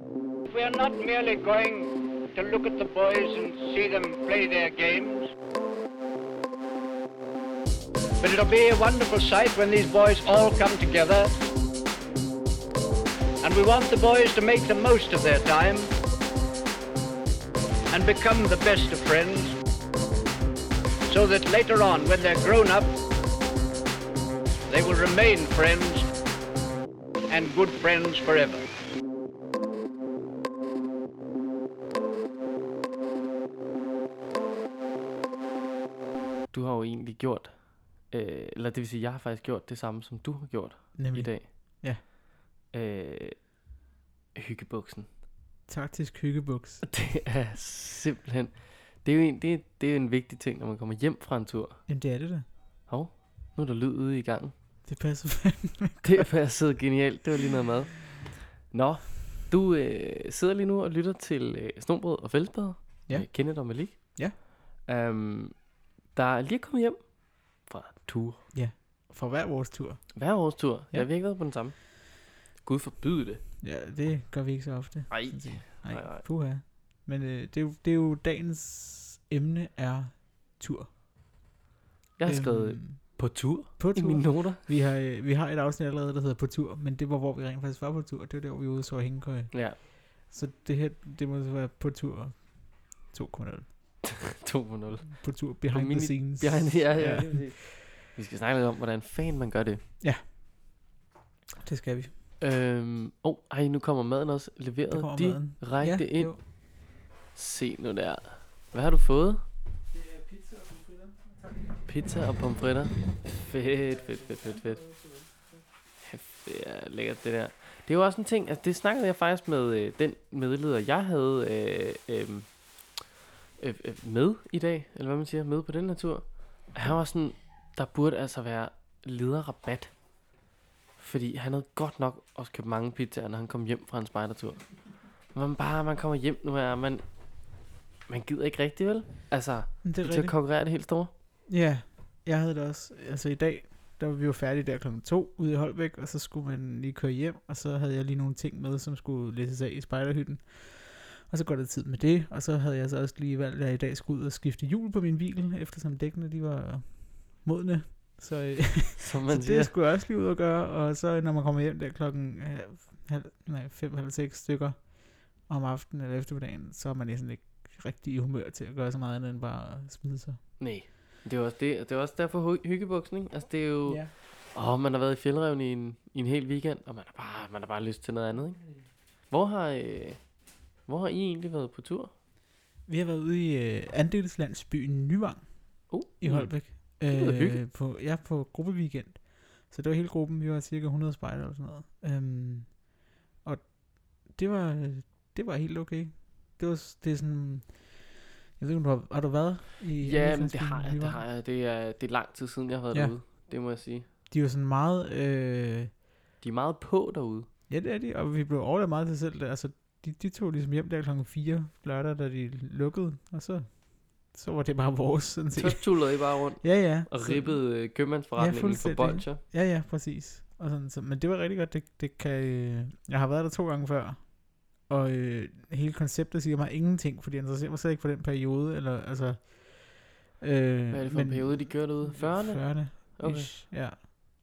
we're not merely going to look at the boys and see them play their games. But it'll be a wonderful sight when these boys all come together. And we want the boys to make the most of their time and become the best of friends so that later on, when they're grown up, they will remain friends and good friends forever. Du har jo egentlig gjort, øh, eller det vil sige, jeg har faktisk gjort det samme, som du har gjort Nemlig. i dag. Ja. Øh, hyggebuksen. Taktisk hyggebuks. Det er simpelthen... Det er jo en, det, det er jo en vigtig ting, når man kommer hjem fra en tur. Jamen det er det da. Hov, nu er der lyd ude i gangen. Det passer fandme. Det passede genialt. Det var lige noget mad. Nå, du øh, sidder lige nu og lytter til øh, Snobrød og Fællesbader. Ja. Med Kenneth og Malik. Ja. Um, der er lige kommet hjem fra tur. For hver vores tur. Hver års tur. Ja. Ja. Jeg har ikke været på den samme. Gud forbyde det. Ja, det gør vi ikke så ofte. Ej. sådan set. Nej, nej. Nej, puha. Men øh, det, er jo, det er jo dagens emne er tur. Jeg har skrevet Øhm, på tur på i tur. mine noter. Vi har, øh, vi har et afsnit allerede, der hedder På tur, men det var, hvor vi rent faktisk var på tur. Det var der, hvor vi var ude og så hængekøje. Ja, Så det her, det må så være På tur 2.0. 2.0 På tur behind mini- the scenes. Behind, ja, ja, ja. Vi skal snakke lidt om, hvordan fanden man gør det. Det skal vi. Øhm, oh, ej, nu kommer maden også leveret Der kommer maden. direkte ind. jo. Se nu der. Hvad har du fået? Pizza og pomfritter. Fedt, fedt, fedt, fedt, fedt. Kæft, Det er lækkert, det der. Det er jo også en ting, altså det snakkede jeg faktisk med øh, den medleder, jeg havde øh, øh, øh, øh, med i dag, eller hvad man siger, med på den her tur. Han var sådan, der burde altså være lederrabat. Fordi han havde godt nok også købt mange pizzaer, når han kom hjem fra en spejdertur. Man bare, man kommer hjem nu, og man, man gider ikke rigtig, vel? Altså, Men Det er til at rigtigt. konkurrere det helt store. Ja, jeg havde det også. Altså i dag, der var vi jo færdige der klokken to ude i Holbæk, og så skulle man lige køre hjem, og så havde jeg lige nogle ting med, som skulle læses af i spejderhytten. Og så går der tid med det, og så havde jeg så også lige valgt, at jeg i dag skulle ud og skifte hjul på min bil, eftersom dækkene de var modne. Så, øh, Som man så siger. det skulle jeg også lige ud og gøre, og så når man kommer hjem der klokken øh, halv, nej, fem, halv seks stykker om aftenen eller eftermiddagen, så er man næsten ikke rigtig i humør til at gøre så meget andet end bare at smide sig. Nej. Det er jo også, det, det er også derfor hy- hyggebuksen, ikke? Altså, det er jo... Yeah. Åh, man har været i fjeldreven i en, i en hel weekend, og man har bare, man har bare lyst til noget andet, ikke? Hvor har, øh, hvor har I egentlig været på tur? Vi har været ude i øh, andelslandsbyen Nyvang Uh, i Holbæk. Øh, lyder hyggeligt. på, ja, på gruppeweekend. Så det var hele gruppen. Vi var cirka 100 spejder eller sådan noget. Øhm, og det var, det var helt okay. Det var s- det er sådan... Jeg ved ikke, om du har, har du været i Ja, men det andelslandsbyen har jeg, det Nyvang? har jeg. Det er, det er lang tid siden, jeg har været Ja. derude. Det må jeg sige. De var sådan meget... Øh, De er meget på derude. ja, det er de, og vi blev overladt meget til selv. Der. Altså, de, de tog ligesom hjem der klokken 4 lørdag, da de lukkede. Og så, så var det bare vores, sådan set. Så tullede I bare rundt Ja, ja. og Så- ribbede øh, købmandsforretningen ja, for fuldstændig. bolcher. Ja, ja, præcis. Og sådan, så, men det var rigtig godt. Det, det kan, øh, jeg har været der to gange før, og øh, hele konceptet siger mig ingenting, fordi jeg interesserer mig slet ikke for den periode. Eller, altså, øh, Hvad er det for en periode, de kører derude? 40'erne? 40'erne, okay. Okay. ish, ja.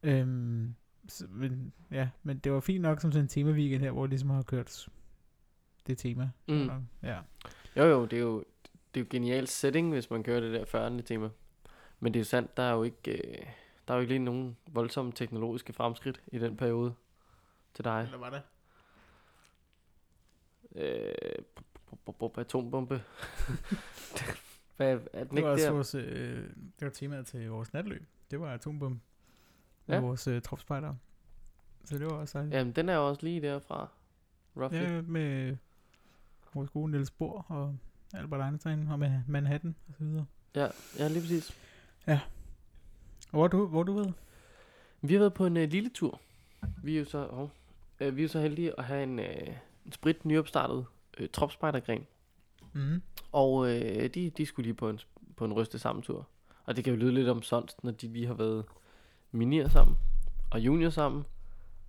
Øhm, så, men, ja, men det var fint nok som sådan en tema-weekend her, hvor de ligesom har kørt det tema. Mm. Og- Ja. Jo jo, det er jo, det er jo genial setting, hvis man kører det der 40'erne tema. Men det er jo sandt, der er jo ikke, øh, der er jo ikke lige nogen voldsomme teknologiske fremskridt i den periode til dig. Eller var det? Øh, bu- bu- bu- bu- Øh, atombombe. Hvad er den Det ikke var, også der? vores, øh, det var temaet til vores natløb. Det var atombom. Ja. Ja. Med vores øh, tropspejder. Så det var også dejligt. Jamen, den er jo også lige derfra. Roughly. Ja, Ja, med vores gode Niels Bohr og Albert Einstein og med Manhattan og så videre. ja, ja lige præcis. Og hvor er du, hvor er du ved? Vi har været på en øh, lille tur. Vi er jo så, oh, øh, vi er jo så heldige at have en, øh, en sprit nyopstartet øh, tropspejdergren. Mm. Og øh, de, de skulle lige på en, på en ryste sammentur. Og det kan jo lyde lidt om sonst, når de lige har været minier sammen og junior sammen.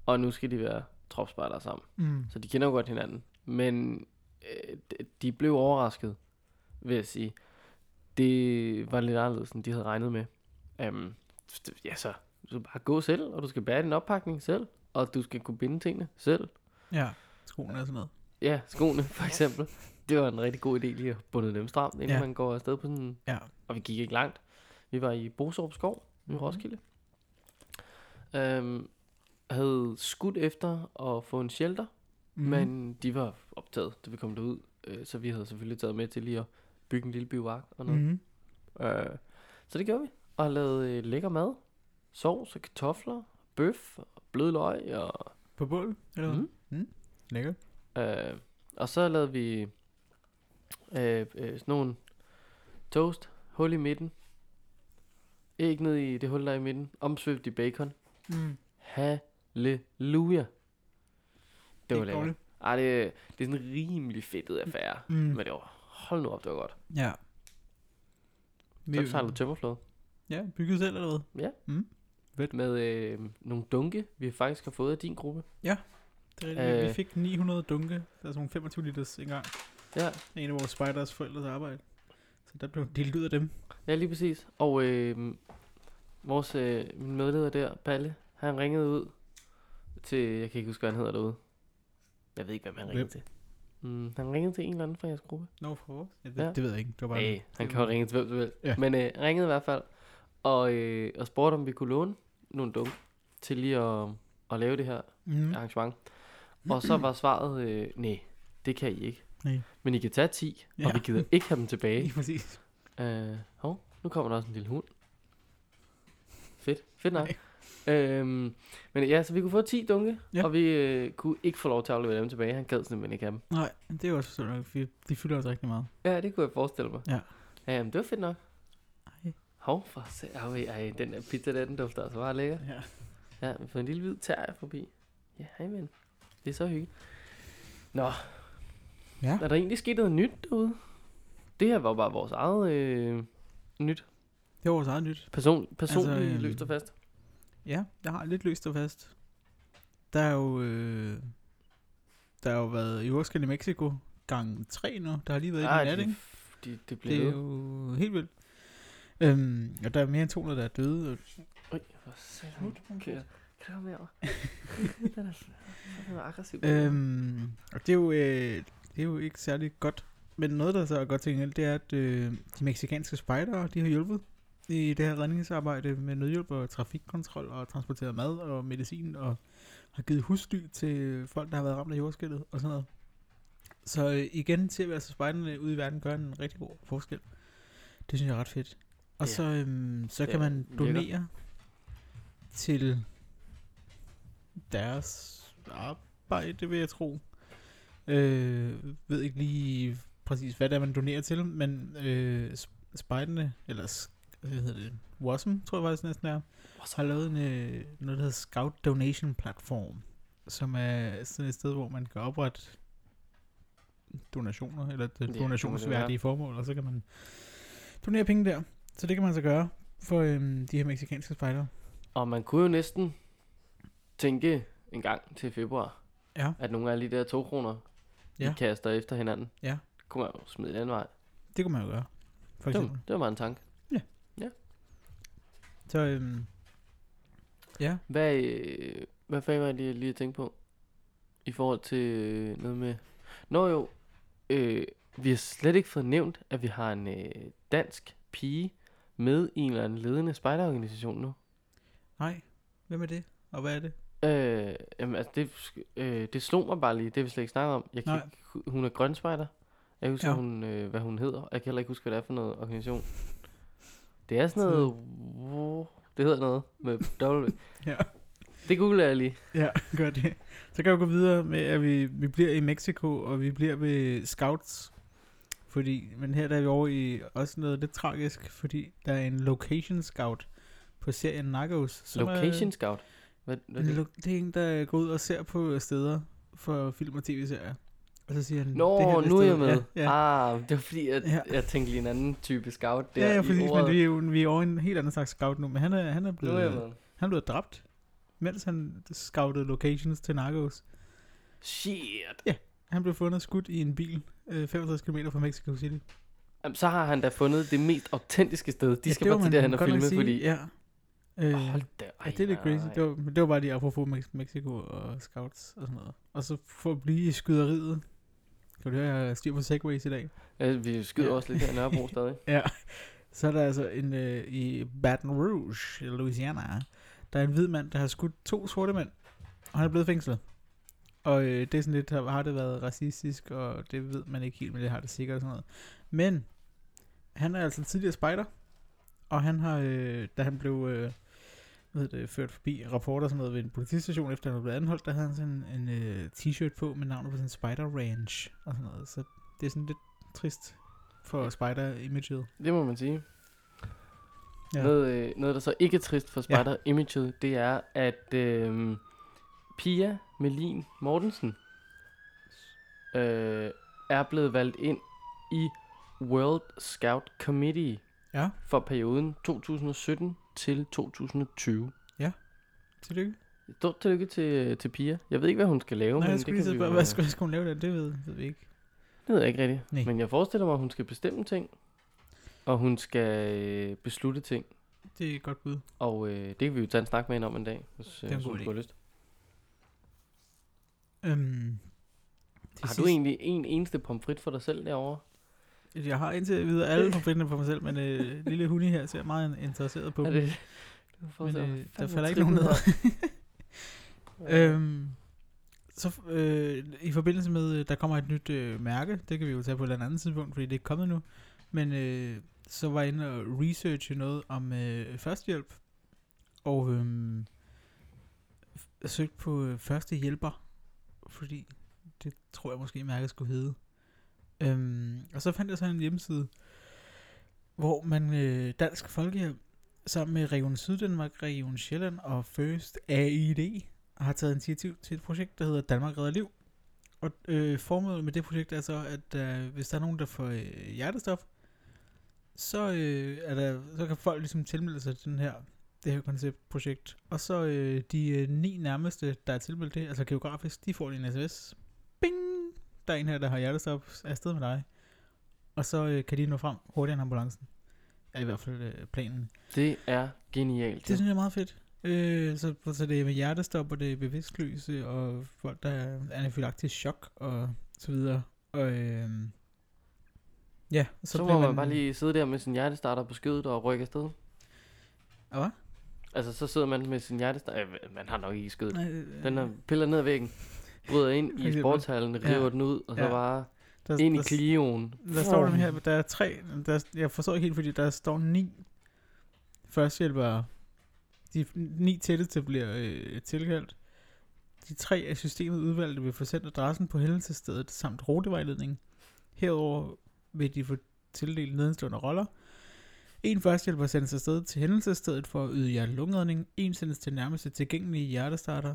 Og nu skal de være tropspejder sammen. Mm. Så de kender jo godt hinanden. Men øh, d- de blev overrasket, vil jeg sige. Det var lidt anderledes, end de havde regnet med. Um, ja, så du skal bare gå selv, og du skal bære din oppakning selv, og du skal kunne binde tingene selv. Ja, skoene og sådan noget. Ja, skoene for eksempel. Det var en rigtig god idé lige at bunde dem stramt, inden Ja. ja. man går afsted på sådan Ja. og vi gik ikke langt. Vi var i Bosorup Skov i Roskilde. Øhm, havde skudt efter at få en shelter, Mhm. mm. men de var optaget, da vi kom derud. Øh, så vi havde selvfølgelig taget med til lige at bygge en lille bivak og noget. Mm-hmm. Mm. Øh, så det gjorde vi, og lavede øh, lækker mad. Sovs og kartofler, bøf, og blødløg og På bål? Eller hvad? Mm. Mm. Lækker. Øh, og så lavede vi øh, øh, sådan nogle toast, hul i midten, æg ned i det hul, der er i midten, omsvøbt i bacon. Mm. Halleluja. Det var Ikke lækkert. dårligt. Ej, det, det er sådan en rimelig fedtet affære. Mm. Mm. Men det var, hold nu op, det var godt. Ja. Så tager du tømmerflåde Ja, bygget selv eller hvad? med øh, nogle dunke, vi faktisk har fået af din gruppe. Det er rigtigt. Øh. Vi Øh. fik 900 dunke, altså nogle 25 liters engang. Ja, En af vores spejders forældres arbejde. Så der blev delt ud af dem. Ja, lige præcis. Og øh, vores øh, min medleder der, Palle, han ringede ud til, jeg kan ikke huske, hvad han hedder derude. Jeg ved ikke, hvem han Hvem? ringede til. Mm, han ringede til en eller anden fra jeres gruppe. Nå, for vores? Ja, det, Ja. det ved jeg ikke. Det var bare Nej, han kan jo ringe til hvem som helst. Ja. Ja. Men øh, ringede i hvert fald, og, øh, og spurgte, om vi kunne låne nogle dunk til lige at, at lave det her Mm. Ja. arrangement. Og så var svaret, øh, nej, det kan I ikke. Nej. Men I kan tage 10, ja. Ja. og vi gider ikke have dem tilbage. Lige præcis. Øh, hov, nu kommer der også en lille hund. Fedt, fedt nok. Øhm, men ja, så vi kunne få 10 dunke, Ja. ja. og vi øh, kunne ikke få lov til at aflevere dem tilbage. Han gad simpelthen ikke have dem. Nej, det er jo også forståeligt nok. Vi- De fylder også rigtig meget. Ja, det kunne jeg forestille mig. Ja. Øhm, det var fedt nok. Ej. Hov, for se, ej, ej, den der pizza der, den dufter altså bare lækker. Ja. Ja, vi får en lille hvid terje forbi. Ja, hej men. Det er så hyggeligt. Nå. Ja. Er der egentlig sket noget nyt derude? Det her var bare vores eget øh, nyt. Det var vores eget nyt. Person, personligt altså, øhm, løst og fast. Ja, jeg har lidt løst og fast. Der er jo... Øh, der har jo været i Urskal i Mexico gang 3 nu. Der har lige været Ah, ah, en nat, de- ikke? De, det blev Det er det jo helt vildt. Øhm, og der er mere end 200, der er døde. og- Øj, hvor satan. Kan jeg- kan jeg komme herover? Den er, den er aggressiv. Øhm, og det er, jo, øh, det er jo ikke særlig godt. Men noget, der så er godt til gengæld, det er, at øh, de meksikanske spejdere, de har hjulpet i det her redningsarbejde med nødhjælp og trafikkontrol og transporteret mad og medicin og har givet husly til folk, der har været ramt af jordskælvet og sådan noget. Så øh, igen ser vi altså spejderne ude i verden gøre en rigtig god forskel. Det synes jeg er ret fedt. Og Ja. så, øhm, så Det kan er man lækkert. donere til deres arbejde, vil jeg tro. Øh, ved ikke lige præcis, hvad det er, man donerer til, men øh, sp- spejderne, eller sk- hvad hedder det, WASM, tror jeg faktisk næsten er, har lavet en, øh, noget, der hedder Scout Donation Platform, som er sådan et sted, hvor man kan oprette donationer, eller det yeah, må det donationsværdige formål, og så kan man donere penge der. Så det kan man så gøre for øhm, de her meksikanske spejdere. Og man kunne jo næsten tænke en gang til februar, Ja. at nogle af alle de der to kroner, ja. Ja. de kaster efter hinanden. Ja. Kunne man jo smide den anden vej. Det kunne man jo gøre, for Det eksempel. var, det var bare en tanke. Så øhm, ja, Hvad, øh, hvad fanden var det lige, lige at tænke på? I forhold til øh, noget med... Nå jo, øh, vi har slet ikke fået nævnt, at vi har en øh, dansk pige med i en eller anden ledende spejderorganisation nu. nej, hvem er det, og hvad er det? Øh, jamen, altså, det, øh, det slog mig bare lige. Det har vi slet ikke snakket om. Jeg kan Nej. ikke, hu- hun er grønspejder. Jeg husker, Ja. ja. hun, øh, hvad hun hedder. Jeg kan heller ikke huske, hvad det er for noget organisation. Det er sådan noget... Wo- Det hedder noget med W. Ja. Det googler jeg lige. Ja, gør det. Så kan jeg gå videre med, at vi, vi bliver i Mexico, og vi bliver ved Scouts. Fordi, men her der er vi over i også noget lidt tragisk, fordi der er en location scout på serien Narcos. som er- Location Scout. Hvad, hvad en er det? lo- det er en, der går ud og ser på steder for film og tv-serier. Og så siger han, Nå, det her nu er stedet." jeg med. Ja, ja. Ah, det var fordi, at, Ja. ja. jeg tænkte lige en anden type scout der ja, ja i præcis, men ordet. vi er, jo, vi er over i en helt anden slags scout nu, men han er, han er Nu er jeg blevet, med. han er blevet dræbt, mens han scoutede locations til Narcos. Shit. Han blev fundet skudt i en bil øh, 65 km fra Mexico City. Jamen, så har han da fundet det mest autentiske sted. De skal det ja, må bare man til det, han har godt nok filmet, sige, fordi... Ja. Øh, Hold da, ja, det er lidt crazy. Det var, men det var bare lige apropos Mex- Mexico og scouts og sådan noget. Og så for at blive i skyderiet. Kan du høre, jeg har styr på segways i dag? Ja, vi skyder Ja. også lidt her i Nørrebro stadig. Ja. Så er der altså en øh, i Baton Rouge, i Louisiana. Der er en hvid mand, der har skudt to sorte mænd. Og han er blevet fængslet. Og øh, det er sådan lidt, har har det været racistisk, og det ved man ikke helt, men det har det sikkert og sådan noget. Men han er altså tidligere spejder, og han har, øh, da han blev øh, hvad hedder det, ført forbi rapporter og sådan noget ved en politistation, efter han var blevet anholdt, der havde han sådan en øh, t-shirt på med navnet på sådan en spider ranch og sådan noget. Så det er sådan lidt trist for spider-imaget. Det må man sige. Ja. Ja. Noget, øh, noget, der så ikke er trist for Ja. Spider Imaget, det er, at øh, Pia Melin Mortensen øh, er blevet valgt ind i World Scout Committee Ja, for perioden 2017 til 2020. tillykke. Stort tillykke til, til Pia. Jeg ved ikke, hvad hun skal lave, Nej, men jeg det skulle kan lige så vi spørge, jo- hvad skulle, hvad skulle hun lave der? Det ved, ved vi ikke. Det ved jeg ikke rigtigt. Nej. Men jeg forestiller mig, at hun skal bestemme ting, og hun skal øh, beslutte ting. Det er et godt bud. Og øh, det kan vi jo tage en snak med hende om en dag, hvis, øh, Det er en hvis god hun idé. skulle have lyst. Øhm, det Har sidste- du egentlig en eneste pomfrit for dig selv derovre? Jeg har indtil videre alle konflikterne for mig selv, men øh, lille hunde her ser meget interesseret på Er dem. det, du får men, så øh, der fandme falder ikke trip nogen ned. ud af- øhm, så øh, i forbindelse med, øh, der kommer et nyt øh, mærke, det kan vi jo tage på et eller andet tidspunkt, fordi det er ikke kommet nu, men øh, så var jeg inde og researche noget om øh, førstehjælp, og øh, f- søgte på øh, førstehjælper, fordi det tror jeg måske mærket skulle hedde. Øhm, og så fandt jeg så en hjemmeside, hvor man øh, Dansk Folkehjælp sammen med Region Syddanmark, Region Sjælland og First AID har taget initiativ til et projekt, der hedder Danmark Redder Liv. Og øh, formålet med det projekt er så, at øh, hvis der er nogen, der får øh, hjertestop, så, øh, er der, så kan folk ligesom tilmelde sig til den her, det her konceptprojekt. Og så øh, de øh, ni nærmeste, der er tilmeldt det, altså geografisk, de får en sms. Bing! Der er en her, der har hjertestop er afsted med dig. Og så øh, kan de nå frem hurtigere end ambulancen. Er i hvert fald øh, planen. Det er genialt. Det synes jeg er meget fedt. Øh, så, så det er med hjertestop, og det er bevidstløse, og folk, der er anafylaktisk chok, og så videre. Og, øh, ja, så, så bliver må man bare lige sidde der med sin hjertestarter på skødet og rykke afsted. Ah, Hvad? Altså, så sidder man med sin hjertestarter... Øh, man har nok ikke i skødet. Nej, øh, Den er piller ned ad væggen, bryder ind For i eksempel. sportshallen, river Ja. den ud, og så Ja. bare der, ind i der, Clioen. Der står dem her, der er tre, der, jeg forstår ikke helt, fordi der står ni førstehjælpere. De ni tætteste bliver øh, tilkaldt. De tre af systemet udvalgte vil få sendt adressen på hændelsestedet samt rutevejledning. Herover vil de få tildelt nedenstående roller. En førstehjælper sendes afsted til hændelsestedet for at yde hjerte-lungredning. En sendes til nærmeste tilgængelige hjertestarter.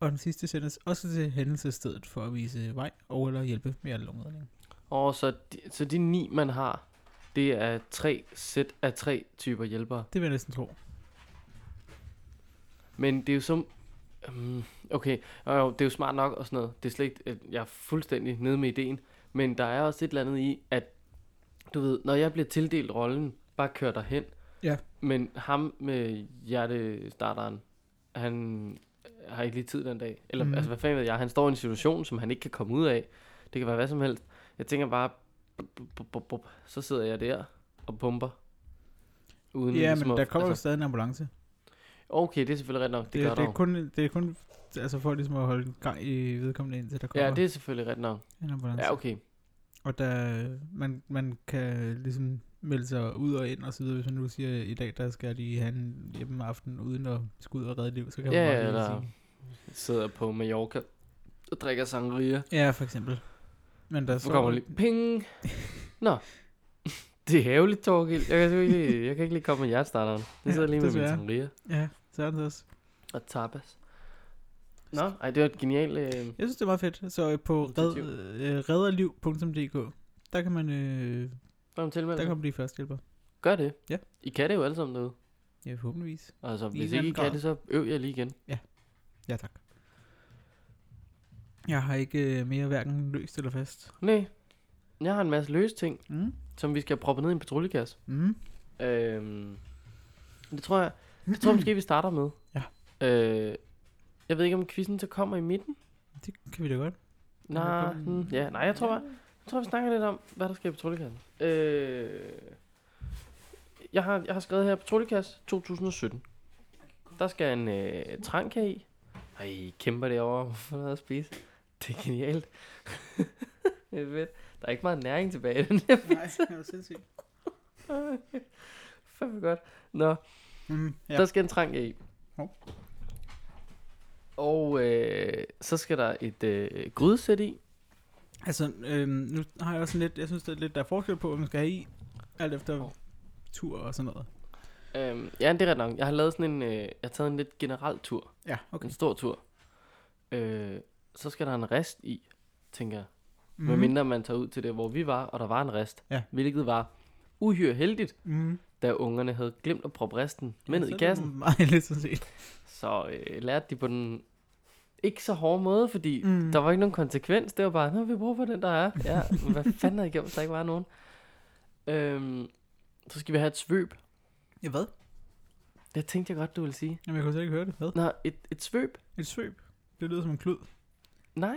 Og den sidste sendes også til hændelsestedet for at vise vej og eller hjælpe med hjerte-lungredning. Og så de, så de ni, man har, det er tre sæt af tre typer hjælpere. Det vil jeg næsten tro. Men det er jo som... Um, okay, og jo, det er jo smart nok og sådan noget. Det er slet ikke, at jeg er fuldstændig nede med ideen. Men der er også et eller andet i, at du ved, når jeg bliver tildelt rollen, bare kør dig hen. Ja. Men ham med hjertestarteren, han har ikke lige tid den dag. Eller mm. Mhm. altså, hvad fanden ved jeg? Han står i en situation, som han ikke kan komme ud af. Det kan være hvad som helst. Jeg tænker bare, bup, bup, bup, bup, bup. så sidder jeg der og pumper. Uden Ja, ligesom at- men der kommer jo altså, stadig en ambulance. Det, Okay, det er selvfølgelig ret nok. Det, det, gør det, der jo. er, kun, det er kun altså for ligesom at holde en gang i vedkommende indtil der kommer Ja, det er selvfølgelig ret nok. en ambulance. Ja, okay. Og der, man, man kan ligesom melde sig ud og ind og så videre, hvis man nu siger, i dag der skal de have en hjemme aften uden at skulle ud og redde liv, så kan Ja, man bare lige eller- sige. Sidder på Mallorca og drikker sangria. Ja, for eksempel. Men der Så kommer lige... lige ping. Nå. Det er ærgerligt, Torgild. Jeg kan, sgu ikke lige, jeg kan ikke lige komme med hjertestarteren. Jeg sidder Ja, lige med min desværre. sangria Ja, så er det også. og tapas. Nå, ej, det var et genialt... Øh, Jeg synes, det er meget fedt. Så øh, på red, Initiativ. øh, redderliv.dk, der kan man, øh, hvad der tilmelde kan kan... man blive førstehjælper. Gør det. Ja. I kan det jo alle sammen derude. Ja, forhåbentvis. Altså, I en hvis ikke eller I anden kan grad. det, så øv jeg lige igen. Ja, tak. Jeg har ikke øh, mere hverken løst eller fast. Nej. Jeg har en masse løse ting, Mm. som vi skal proppe ned i en patruljekasse. Mm. Øhm, det tror jeg, det tror jeg måske, vi starter med. Ja. Øh, jeg ved ikke, om quizzen så kommer i midten. Det kan vi da godt. Eller Nej, kommer den- hmm, ja, nej, jeg tror bare, jeg tror, vi snakker lidt om, hvad der sker i patruljekassen. Øh, jeg, har, jeg har skrevet her, patruljekasse 2017. Der skal en øh, tranka i. Ej, I kæmper det over, hvorfor noget at spise. Det er genialt. det er fedt. Der er ikke meget næring tilbage i den her Nej, det er jo sindssygt. pakke. Fandme godt. Nå, Mm. Ja. Ja. Der skal en trang i. Hov. Og øh, så skal der et øh, grydesæt i. Altså, øhm, nu har jeg også sådan lidt, jeg synes, der er lidt, der er forskel på, hvad man skal have i, alt efter tur og sådan noget. Øhm, ja, det er ret nok. Jeg har lavet sådan en, øh, jeg har taget en lidt generel tur. Ja, mm. Okay. okay. En stor tur. Øh, så skal der en rest i, tænker jeg. Mm. Mhm. Medmindre man tager ud til det, hvor vi var, og der var en rest. Ja. Hvilket var uhyre heldigt, Mm. da ungerne havde glemt at proppe resten med ned Så i er det kassen. Meget lidt sådan set. Så øh, lærte de på den ikke så hårde måde, fordi Mm. mm. der var ikke nogen konsekvens. Det var bare, nu vi bruger for den, der er. Ja, men hvad fanden havde jeg gjort, hvis der ikke var nogen? Øhm, så skal vi have et svøb. Ja, hvad? Det tænkte jeg godt, du ville sige. Jamen, jeg kunne slet ikke høre det. Hvad? Nå, et, et svøb? Et svøb. Det lyder som en klud. Nej.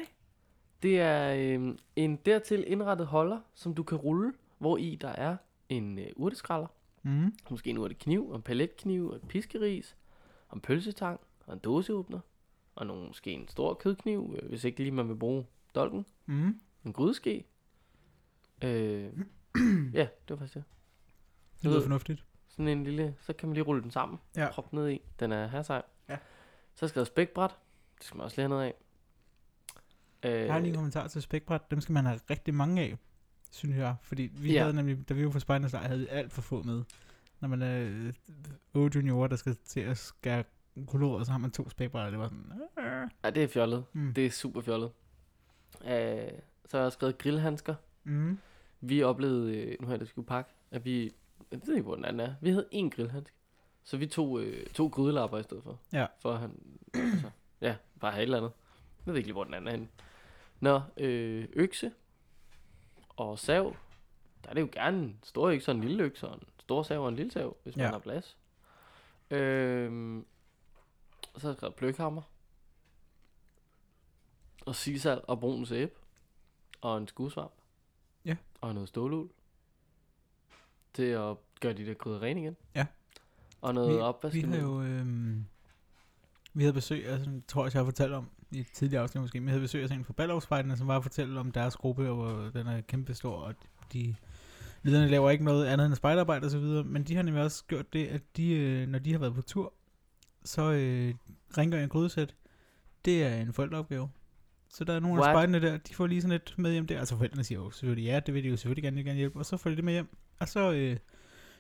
Det er øh, en dertil indrettet holder, som du kan rulle, hvor i der er en øh, urteskralder, Mm. måske en urtekniv, og en paletkniv, og et piskeris, og en pølsetang, og en dåseåbner, og nogle, måske en stor kødkniv, øh, hvis ikke lige man vil bruge dolken. Mm. En grydeske. Øh, ja, det var faktisk det. Det lyder fornuftigt. Sådan en lille, så kan man lige rulle den sammen. Ja. Prop ned i. Den er her sej. Ja. Så skal der spækbræt. Det skal man også lige have noget af. Øh, Jeg har lige en kommentar til spækbræt. Dem skal man have rigtig mange af, synes jeg. Fordi vi ja. Ja. havde nemlig, da vi var på Spejdernes Lejr, havde vi alt for få med. Når man er øh, otte juniorer, der skal til at skære koloreret, så har man to spækbrætter. Det var sådan... øh. ja, det er fjollet. Mm. Det er super fjollet. Øh, så har jeg også skrevet grillhandsker. Mm. Vi oplevede, øh, nu her det skulle pakke, at vi, jeg ved ikke, hvor den anden er. Vi havde én grillhandsk. Så vi tog øh, to grydelapper i stedet for. Ja. For at han, altså, ja, bare have et eller andet. Jeg ved ikke lige, hvor den anden er henne. Nå, øh, økse og sav. Der er det jo gerne en stor økse og en lille økse, og en stor sav og en lille sav, hvis man Ja. har plads. Øh, og så har jeg skrevet pløkhammer. Og sisal og brun sæbe. Og en skudsvamp. Ja. Og noget stålul. Til at gøre de der gryder rene igen. Ja. Og noget Vi- opvask. Vi havde jo... øhm, vi havde besøg af, sådan, tror jeg, jeg har fortalt om i et tidligere afsnit måske, men vi havde besøg af sådan en fra Ballavsfejlene, som var at fortælle om deres gruppe, og hvor den er kæmpestor, og de lederne laver ikke noget andet end spejderarbejde og så videre, men de har nemlig også gjort det, at de, øh, når de har været på tur, så øh, rengør en grydesæt. Det er en forældreopgave. Så der er nogle af What? spejderne der, de får lige sådan lidt med hjem der. Altså forældrene siger jo selvfølgelig ja, det vil de jo selvfølgelig gerne, de vil gerne hjælpe, og så får de det med hjem. Og så øh,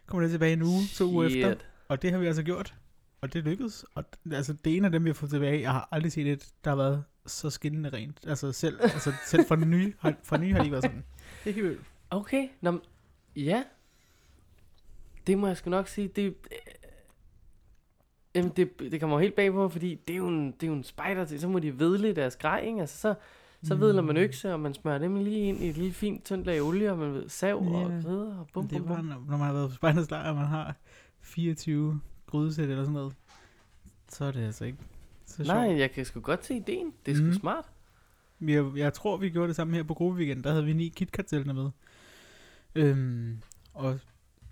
kommer det tilbage en uge, to uger efter, og det har vi altså gjort. Og det lykkedes. Og d- altså, det er en af dem, vi har fået tilbage. Jeg har aldrig set et, der har været så skinnende rent. Altså selv, altså, selv fra den nye, har, fra den nye har de ikke været sådan. Det kan vi jo. Okay, nå, men- ja. Det må jeg sgu nok sige, det, øh, jamen det, det kommer jo helt bag på, fordi det er jo en, det er jo en spider til, så må de vedle deres grej, ikke? Altså, så, så Mm. vedler man økse, og man smører dem lige ind i et lille fint tyndt lag olie, og man ved sav og Ja. græder og bum, Det er bum, bum. bare, når når man har været på Spejdernes Lejr, og man har 24 grydesæt eller sådan noget, så er det altså ikke så sjovt. Nej, jeg kan sgu godt se ideen. Det er sgu Mm. smart. Vi har, jeg tror, vi gjorde det samme her på gruppeweekend. Der havde vi ni KitKat-tæltene med. Øhm, og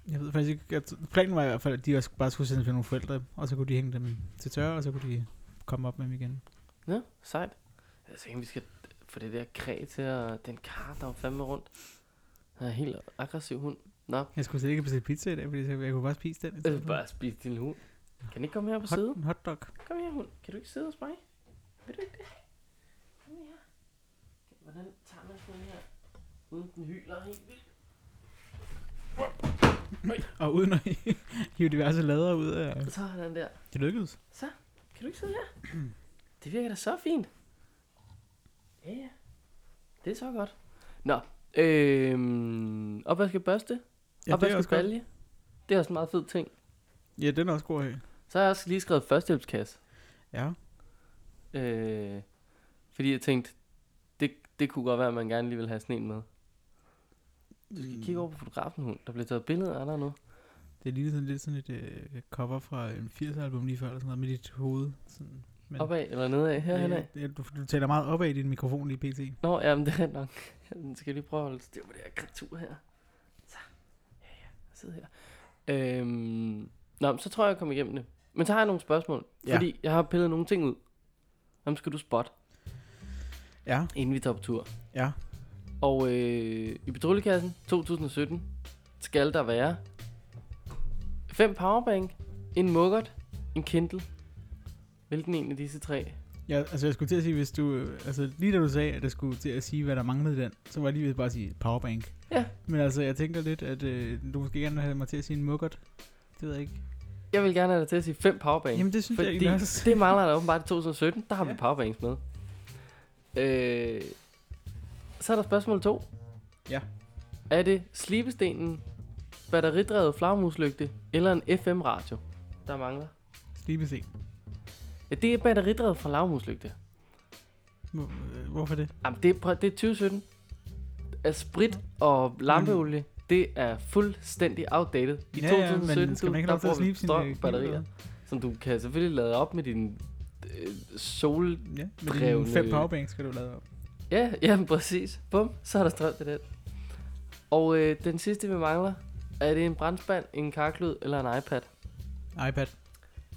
jeg ved faktisk ikke, jeg, t- planen var i hvert fald, at de også bare skulle sendes til nogle forældre, og så kunne de hænge dem til tørre, og så kunne de komme op med dem igen. Ja, sejt. Jeg tænker, vi skal få det der kræ til at... Den kar, der var fandme rundt. Han er en helt aggressiv hund. Nå, Jeg skulle slet ikke bestille pizza i dag, fordi jeg, jeg kunne bare spise den. i jeg stedet vil for. Øh, bare spise din hund. Kan den ikke komme her på Hot, siden? en hotdog. Kom her, hund. Kan du ikke sidde hos mig? Vil du ikke det? Kom her. Hvordan tager man sådan her? Uden den hyler helt vildt. Og uden at hive diverse lader ud af... Så er den der. Det lykkedes. Kan du ikke sidde her? Det virker da så fint. Ja, ja. Det er så godt. Nå, øhm, opvaskebørste. Ja, det er også godt. opvaskebalje. Det er også en meget fed ting. Ja, den er også god at have. Så har jeg også lige skrevet førstehjælpskasse. Ja. Øh, fordi jeg tænkte, det, det kunne godt være, at man gerne lige vil have sådan en med. Du skal kigge over på fotografen, hun. Der bliver taget billeder af dig nu. Det ligner sådan lidt sådan et øh, cover fra en 80'er album lige før, eller sådan noget, med dit hoved. Sådan, men, Opad eller nedad, herhen af. ja, du, du taler meget opad i din mikrofon lige pt. Nå, jamen det er rent nok. Den skal jeg lige prøve at holde styr på det her kreatur her. Så, ja, ja, jeg sidder her. Øhm, nå, men så tror jeg, jeg kommer igennem det. Men så har jeg nogle spørgsmål, Ja. ja. fordi jeg har pillet nogle ting ud. Hvem skal du spot, Ja, inden vi tager på tur? ja. Og øh, i Petrolikassen 2017 skal der være fem powerbank, en muggert, en Kindle. Hvilken en af disse tre? Ja, altså jeg skulle til at sige, hvis du... øh, Altså lige da du sagde, at jeg skulle til at sige, hvad der manglede i den, så var jeg lige ved bare at sige powerbank. Ja. Men altså, jeg tænker lidt, at øh, du måske gerne vil have mig til at sige en muggert. Det ved jeg ikke. Jeg vil gerne have dig til at sige fem powerbank. Jamen det synes jeg Fordi ikke også. det mangler der åbenbart i 2017. Der har ja. Ja. vi powerbanks med. Øh, så er der spørgsmål 2. Ja. Er det slibestenen, batteridrevet flagmuslygte eller en FM-radio, der mangler? Slibesten. Ja, det er batteridrevet flagmuslygte. Hvor, øh, hvorfor det? Jamen, det er, prøv- det er 2017. At sprit og lampeolie, det er fuldstændig outdated. I Mm. Ja, ja, men 2017, skal man ikke der have lov til at bruger vi slibe sine, øh, knive strømbatterier, eller? som du kan selvfølgelig lade op med din øh, sol Ja, med Drevne- dine fem powerbanks skal du lade op. Ja, jamen præcis. Bum, så er der strøm til den. Og øh, den sidste, vi mangler, er det en brandspand, en karklud eller en iPad? iPad.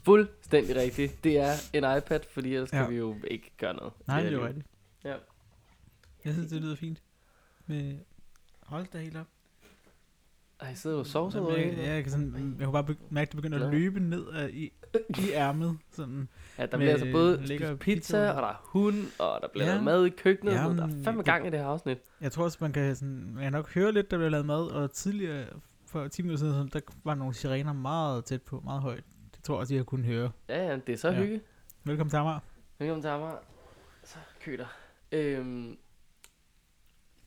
Fuldstændig rigtigt. Det er en iPad, fordi ellers ja. Ja. kan vi jo ikke gøre noget. Nej, Ja, det er jo lige- rigtigt. Ja. Jeg synes, det lyder fint. Med... Hold da helt op. Ej, sidder du og sover Jamen, så jeg, ja, jeg, kan sådan, jeg kunne bare be- mærke, at det begynder at Glad. løbe ned ad i, i ærmet. Sådan. Ja, der med bliver altså både lækker spist pizza. pizza, og der er hund, og der bliver Ja. lavet mad i køkkenet. Ja, Ja, der men er fandme det- gang i det her afsnit. Jeg tror også, man kan, sådan, man kan nok høre lidt, der bliver lavet mad. Og tidligere, for 10 minutter siden, sådan, der var nogle sirener meget tæt på, meget højt. Det tror jeg også, jeg kunne høre. Ja, ja, det er så Ja. ja. hygge. Velkommen til Amager. Velkommen til Amager. Så køler. Øhm,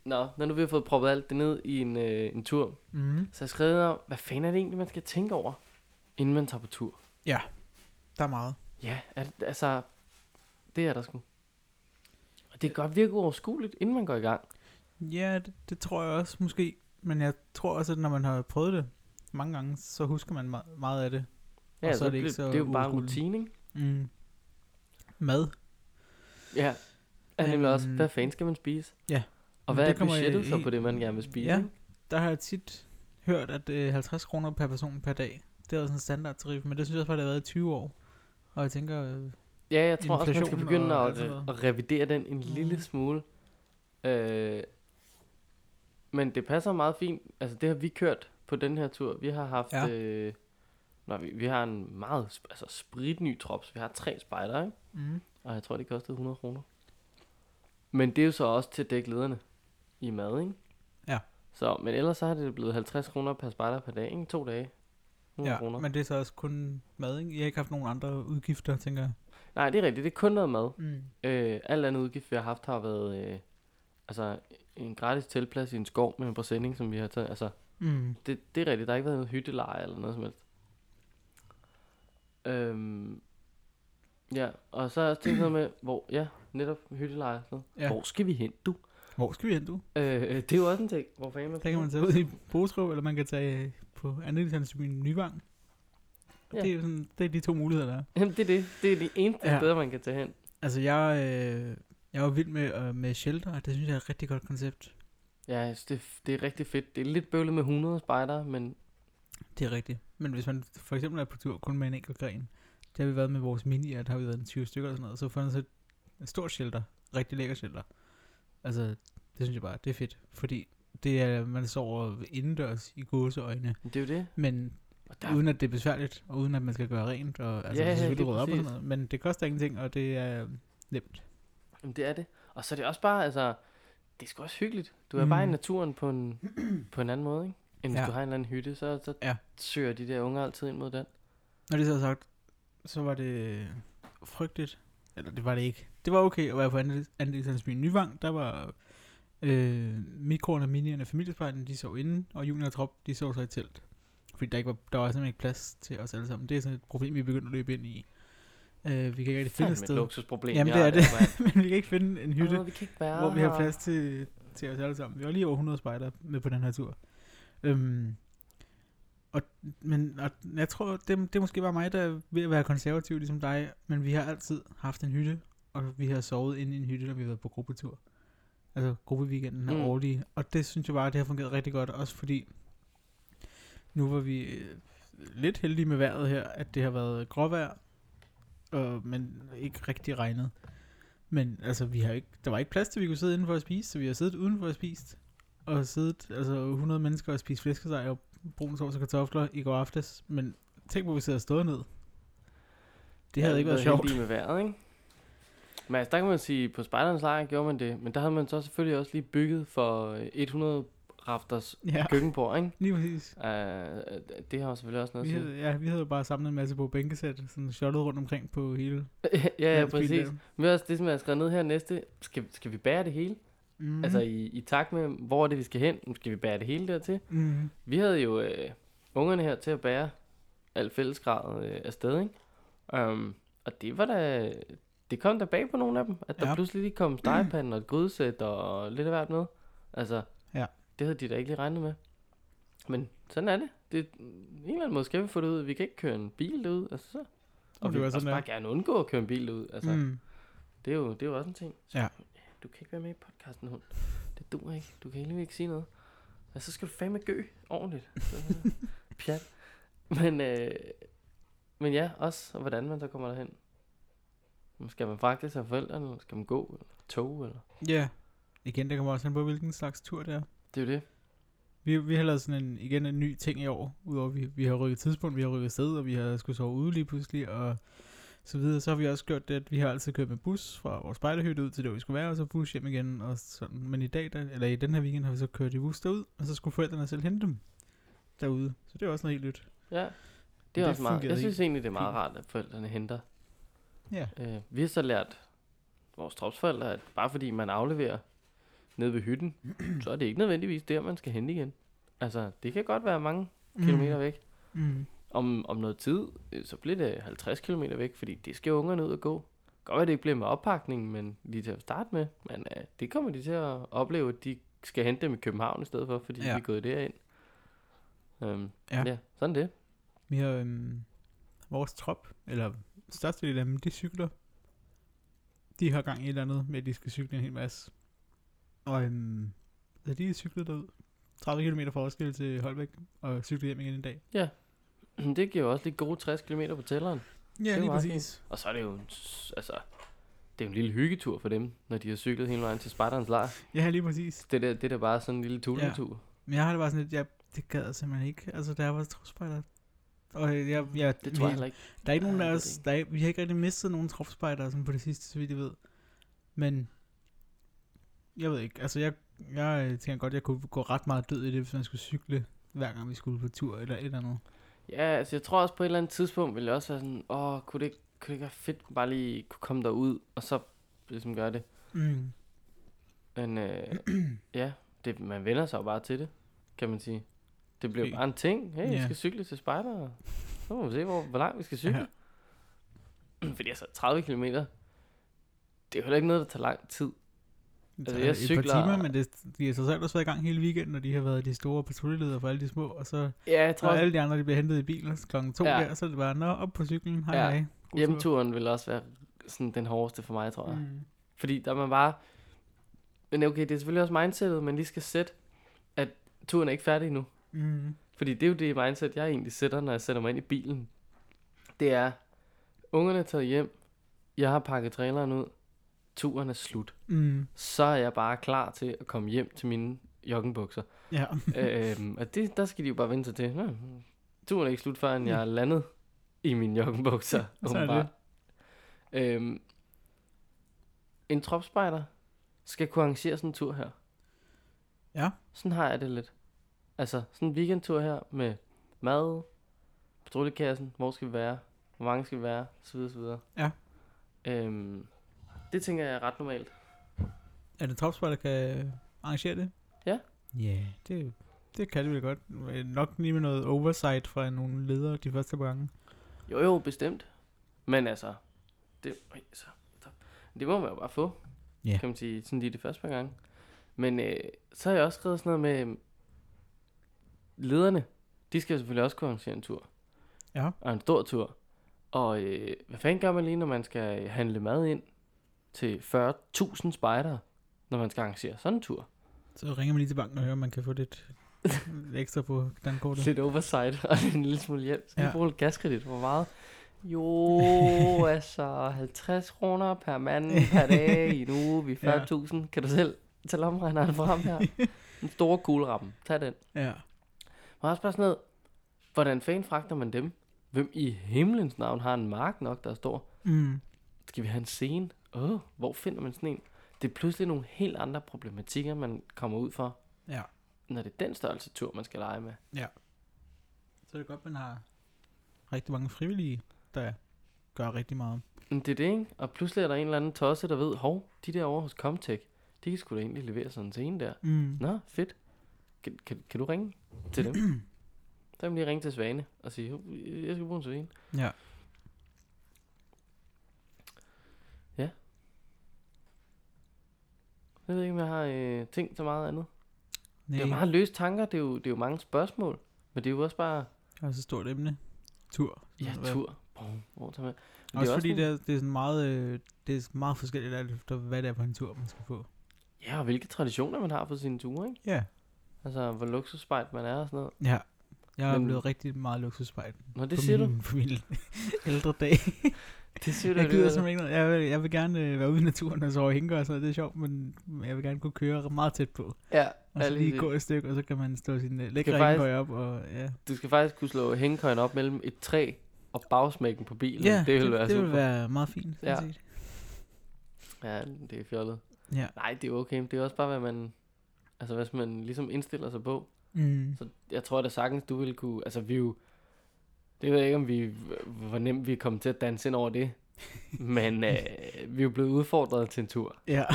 nå, når nu vi har fået proppet alt det ned i en, øh, en tur, Mm-hmm. Så jeg skrev ned om, hvad fanden er det egentlig, man skal tænke over, inden man tager på tur? Der er meget. Ja, er, det- altså, det er der sgu. Og det kan godt virke uoverskueligt, inden man går i gang. Ja, det, det tror jeg også måske. Men jeg tror også, at når man har prøvet det mange gange, så husker man me- meget af det. Ja, Og så er det bliver- ikke så det er jo bare en uoverskueligt. rutine, ikke? Mm. Mad. Ja. Er Men- øh, nemlig også, hvad fanden skal man spise? Ja. Og Men hvad det er kommer jeg budgettet så i- på det, man gerne vil spise? Ja. ikke? Der har jeg tit hørt, at øh, 50 kroner per person per dag, det er jo sådan en standardtarif, men det synes jeg også bare, det har været i 20 år. Og jeg tænker, øh, ja, jeg tror også, man skal Inflation begynde og at, øh, alt sådan noget. at revidere den en Mm. lille smule. Øh, men det passer meget fint. Altså, det har vi kørt på den her tur. Vi har haft... Ja. Ja. Øh, nej, vi, vi har en meget sp- altså, spritny trops. Vi har tre spejder, ikke? mm, Og jeg tror, det kostede 100 kroner. Men det er jo så også til at dække lederne i mad, ikke? Ja. Så, men ellers så har det blevet 50 kroner per spejder per dag, ikke? To dage. 100 ja, kroner. men det er så også kun mad, ikke? I har ikke haft nogen andre udgifter, tænker jeg. Nej, det er rigtigt. Det er kun noget mad. Mm. Øh, alt andet udgift, vi har haft, har været øh, altså, en gratis tilplads i en skov med en præsending, som vi har taget. Altså, Mm. det, det er rigtigt. Der har ikke været noget hytteleje eller noget som helst. Øhm, ja, og så har jeg også tænkt noget med, hvor, ja, netop hytteleje og sådan noget. Ja. Hvor skal vi hen, du? Hvor skal vi hen, du? Øh, det er jo også en ting. Hvor fanden man Der kan man tage ud i Botrup, eller man kan tage øh, på andelshandelsbyen Nyvang. Ja. Ja. Det, er jo sådan, det er de to muligheder, der er. Jamen, det er det. Det er de eneste Ja. ja. steder, man kan tage hen. Altså, jeg, øh, jeg var vild med, øh, med shelter, og det synes jeg er et rigtig godt koncept. Ja, jeg synes, det, det er rigtig fedt. Det er lidt bøvlet med 100 spejdere, men Det er rigtigt. Men hvis man for eksempel er på tur kun med en enkelt gren, det har vi været med vores minier, der har vi været en 20 stykker eller sådan noget, så fandt sådan et stort shelter, rigtig lækker shelter. Altså, det synes jeg bare, det er fedt, fordi det er, man sover indendørs i gåseøjne, det er jo det. men Og der. uden at det er besværligt, og uden at man skal gøre rent, og altså, Ja, ja, ja, selvfølgelig lige rydde op og sådan præcis. noget, men det koster ingenting, og det er øh, nemt. Jamen, det er det. Og så er det også bare, altså, det er sgu også hyggeligt. Du er mm. bare i Mm. naturen på en, på en anden måde, ikke? End hvis Ja. du har en eller anden hytte, så, så Ja. ja. søger de der unger altid ind mod den. Når det så er sagt, så var det øh, frygteligt. Eller det var det ikke. Det var okay at være på andel- andelslandsbyen Nyvang. Der var øh, mikroerne, minierne og familiespejlen, de sov inde, og Junior og Trop, de sov så i telt. Fordi der, ikke var, der var simpelthen ikke plads til os alle sammen. Det er sådan et problem, vi begyndte at løbe ind i Øh, vi kan ikke rigtig finde et Fandme et sted. luksusproblem. Jamen, jeg det er har det. der, mand. Men vi kan ikke finde en hytte, Åh, vi kan ikke være hvor vi har her. plads til, til os alle sammen. Vi var lige over 100 spejder med på den her tur. Øhm, og, men og jeg tror, det, det er måske bare mig, der er ved at være konservativ, ligesom dig. Men vi har altid haft en hytte, og vi har sovet inde i en hytte, når vi har været på gruppetur. Altså gruppeweekenden er Mm. mm. årlig. Og det synes jeg bare, det har fungeret rigtig godt. Også fordi, nu var vi øh, lidt heldige med vejret her, at det har været gråvejr, og, men ikke rigtig regnet. Men altså, vi har ikke, der var ikke plads til, at vi kunne sidde indenfor og spise, så vi har siddet udenfor og spist. Og siddet, altså 100 mennesker og spist flæskesteg og brun sovs og kartofler i går aftes. Men tænk på, at vi sidder og stået ned. Det havde Ja, ikke været været sjovt. heldige med vejret, ikke? Men altså, der kan man sige, på spejderens lejr gjorde man det, men der havde man så selvfølgelig også lige bygget for øh, 100 rafters Ja, køkkenbord, ikke? lige præcis. Uh, det har jo selvfølgelig også noget Vi at sige. havde, ja, vi havde jo bare samlet en masse på bænkesæt, sådan shottet rundt omkring på hele ja, ja, landsbyen præcis. der. Men også det, som jeg har skrevet ned her næste, skal, skal vi bære det hele? Mm. Mm. Altså i, i takt med, hvor er det, vi skal hen? Skal vi bære det hele dertil? mm. Vi havde jo øh, ungerne her til at bære al fællesgradet øh, afsted, ikke? Um, og det var da... Det kom der bag på nogle af dem, at der ja. Ja. pludselig lige kom stegepanden og et grydesæt og lidt af hvert med. Altså, Ja. det havde de da ikke lige regnet med. Men sådan er det. det på en eller anden måde skal vi få det ud. Vi kan ikke køre en bil ud, altså så. det Og vi var vil også sådan, det er. bare gerne undgå at køre en bil ud. Altså, mm. Mm. det, er jo, det er jo også en ting. Så, Ja. Du kan ikke være med i podcasten, hund. Det dur ikke. Du kan heldigvis ikke sige noget. Og så skal du fandme gø ordentligt. Så, øh, Pjat. Men, øh, men ja, også og hvordan man så kommer derhen. Skal man faktisk have forældrene, eller skal man gå, eller tog, eller... Ja. Igen, det kommer også an på, hvilken slags tur det er. Det er jo det. Vi, vi har lavet sådan en, igen en ny ting i år, udover vi, vi har rykket tidspunkt, vi har rykket sted, og vi har skulle sove ude lige pludselig, og så videre. Så har vi også gjort det, at vi har altid kørt med bus fra vores spejderhytte ud til der, vi skulle være, og så bus hjem igen. Og sådan. Men i dag, der, eller i den her weekend, har vi så kørt i bus derud, og så skulle forældrene selv hente dem derude. Så det er også noget helt nyt. Ja. Det er Det det også meget... fungerede Jeg synes egentlig, det er meget fint. rart, at forældrene henter. Ja. Øh, vi har så lært vores tropsforældre, at bare fordi man afleverer nede ved hytten, så er det ikke nødvendigvis der, man skal hente igen. Altså, det kan godt være mange Mhm. kilometer væk. Mm. om, om noget tid, øh, så bliver det 50 km væk, fordi det skal ungerne ud og gå. Godt være, det ikke bliver med oppakningen, men lige til at starte med. Men øh, det kommer de til at opleve, at de skal hente dem i København i stedet for, fordi ja. Ja. vi er gået derind. Um, ja. Ja. ja, sådan det. Vi har øhm, vores trop, eller største del af dem, de cykler. De har gang i et eller andet med, at de skal cykle en hel masse. Og øhm, så de cyklede derud. 30 km fra Roskilde til Holbæk, og cyklede hjem igen en dag. Det giver jo også lige gode 60 km på tælleren. Ja, lige lige meget præcis. Og så er det jo en, s- altså, det er jo en lille hyggetur for dem, når de har cyklet hele vejen til Spartans lejr. Ja, lige præcis. Det, der, det der bare sådan en lille tulletur. Men jeg har det bare sådan lidt, jeg, det gad jeg simpelthen ikke. Altså, der var tropspejder. Og øh, jeg, jeg, jeg, Det tror jeg vi- heller ikke. Der er ikke Ja, nogen af jeg ved os, det der er, vi har ikke rigtig mistet nogen tropspejder sådan på det sidste, så vidt jeg ved. Men, jeg ved ikke, altså jeg, jeg øh, tænker godt, jeg kunne gå ret meget død i det, hvis man skulle cykle, hver gang vi skulle på tur eller et eller andet. Ja, altså jeg tror også på et eller andet tidspunkt ville jeg også være sådan, åh, kunne det, ikke- kunne det ikke være fedt bare lige kunne komme derud, og så ligesom gøre det. Mm. Men øh, ja, det, man vender sig jo bare til det, kan man sige. Det bliver Fint. bare en ting. Hey, vi Ja. skal cykle til spejder, og så må vi se, hvor, hvor langt vi skal cykle. Fordi altså, 30 km, det er jo heller ikke noget, der tager lang tid. Det Altså, tager jeg et cykler- par timer, men det, de har så selv også været i gang hele weekenden, og de har været de store patruljeledere for alle de små, og så Ja, jeg tror når også, alle de andre de bliver hentet i bilen klokken to Ja. ja. der, så er det bare, nå, op på cyklen, hej Ja. ja. hej. God tur. hjemmeturen vil også være sådan den hårdeste for mig, tror jeg. Mm. Fordi der er man bare... Men okay, det er selvfølgelig også mindsetet, man lige skal sætte, at turen er ikke færdig endnu. Mm. Fordi det er jo det mindset, jeg egentlig sætter, når jeg sætter mig ind i bilen. Det er, ungerne er taget hjem, jeg har pakket traileren ud, turen er slut. Mm. Så er jeg bare klar til at komme hjem til mine joggenbukser. Ja. øhm, og det, der skal de jo bare vente sig til. Nå, turen er ikke slut, før end jeg er landet i mine joggenbukser. Mm. det. åbenbart. Øhm, en tropspejder skal kunne arrangere sådan en tur her. Ja. Sådan har jeg det lidt. Altså, sådan en weekendtur her med mad, patruljekassen, hvor skal vi være, hvor mange skal vi være, så videre, så videre. Ja. Øhm, det tænker jeg er ret normalt. Er det topsport, der kan arrangere det? Ja. Ja, yeah, det, det kan det vel godt. Øh, Nok lige med noget oversight fra nogle ledere de første par gange. Jo, jo, bestemt. Men altså, det, øj, så, så. det må man jo bare få, Ja. kan man sige, sådan lige de første par gange. Men øh, så har jeg også skrevet sådan noget med, øhm, lederne, de skal selvfølgelig også kunne arrangere en tur. Ja. Og en stor tur. Og øh, hvad fanden gør man lige, når man skal handle mad ind til 40.000 spejdere, når man skal arrangere sådan en tur? Så ringer man lige til banken og hører, om man kan få lidt lidt ekstra på dankortet. Lidt oversight og en lille smule hjælp. Skal ja. Ja. bruge lidt gaskredit? Hvor meget? Jo, altså 50 kroner per mand per dag i en uge. Vi Ja. er 40.000. Kan du selv tage lommeregneren frem her? Den store kuglerappen. Tag den. Ja. Man har også bare sådan noget, hvordan fanden fragter man dem? Hvem i himlens navn har en mark nok, der står? Mm. Skal vi have en scene? Åh, hvor finder man sådan en? Det er pludselig nogle helt andre problematikker, man kommer ud for, Ja. når det er den størrelse tur, man skal lege med. Så er det godt, man har rigtig mange frivillige, der gør rigtig meget. Men det er det, ikke? Og pludselig er der en eller anden tosse, der ved, hov, de der over hos Comtech, de kan sgu da egentlig levere sådan en scene der. Mm. Nå, fedt. Kan, kan, kan du ringe til dem? Så kan man lige ringe til Svane og sige, "Hov, jeg skal bruge en Svane. Ja. Jeg ved ikke, om jeg har øh, tænkt så meget andet. Nej, Det er jo meget løse tanker, det er jo, det er jo mange spørgsmål, men det er jo også bare, det er så stort emne. Tur. ja, Hvad- tur, brum, hvor tager man? Men Også er fordi det sådan- er, det er sådan meget, øh, det er meget forskelligt alt efter, hvad det er for en tur, man skal få. Ja, og hvilke traditioner man har på sine ture, ikke? Ja. Altså, hvor luksusspejt man er og sådan noget. Ja. Jeg har Men- blevet rigtig meget luksusspejl. Nå, det siger min, du. På min ældre dag. Det siger du. jeg gider alligevel. simpelthen ikke noget. Jeg vil, jeg vil gerne øh, være ude i naturen og sove i hænger og sådan noget. Det er sjovt, men jeg vil gerne kunne køre meget tæt på. Ja, Og ja, så Altså, lige præcis. gå et stykke, og så kan man stå sin øh, lækre faktisk- hængekøj op. Og, ja. Du skal faktisk kunne slå hængekøjen op mellem et træ og bagsmækken på bilen. ja, det ville være det super. vil være meget fint. Ja. Ja. Ja, det er fjollet. ja. Nej, det er okay, men det er også bare, hvad man... Altså, hvis man ligesom indstiller sig på. Mm. Så jeg tror da sagtens, du ville kunne... Altså, vi er jo... Det ved jeg ikke, om vi... Hvor nemt vi er kommet til at danse ind over det. Men øh, vi er jo blevet udfordret til en tur. Ja.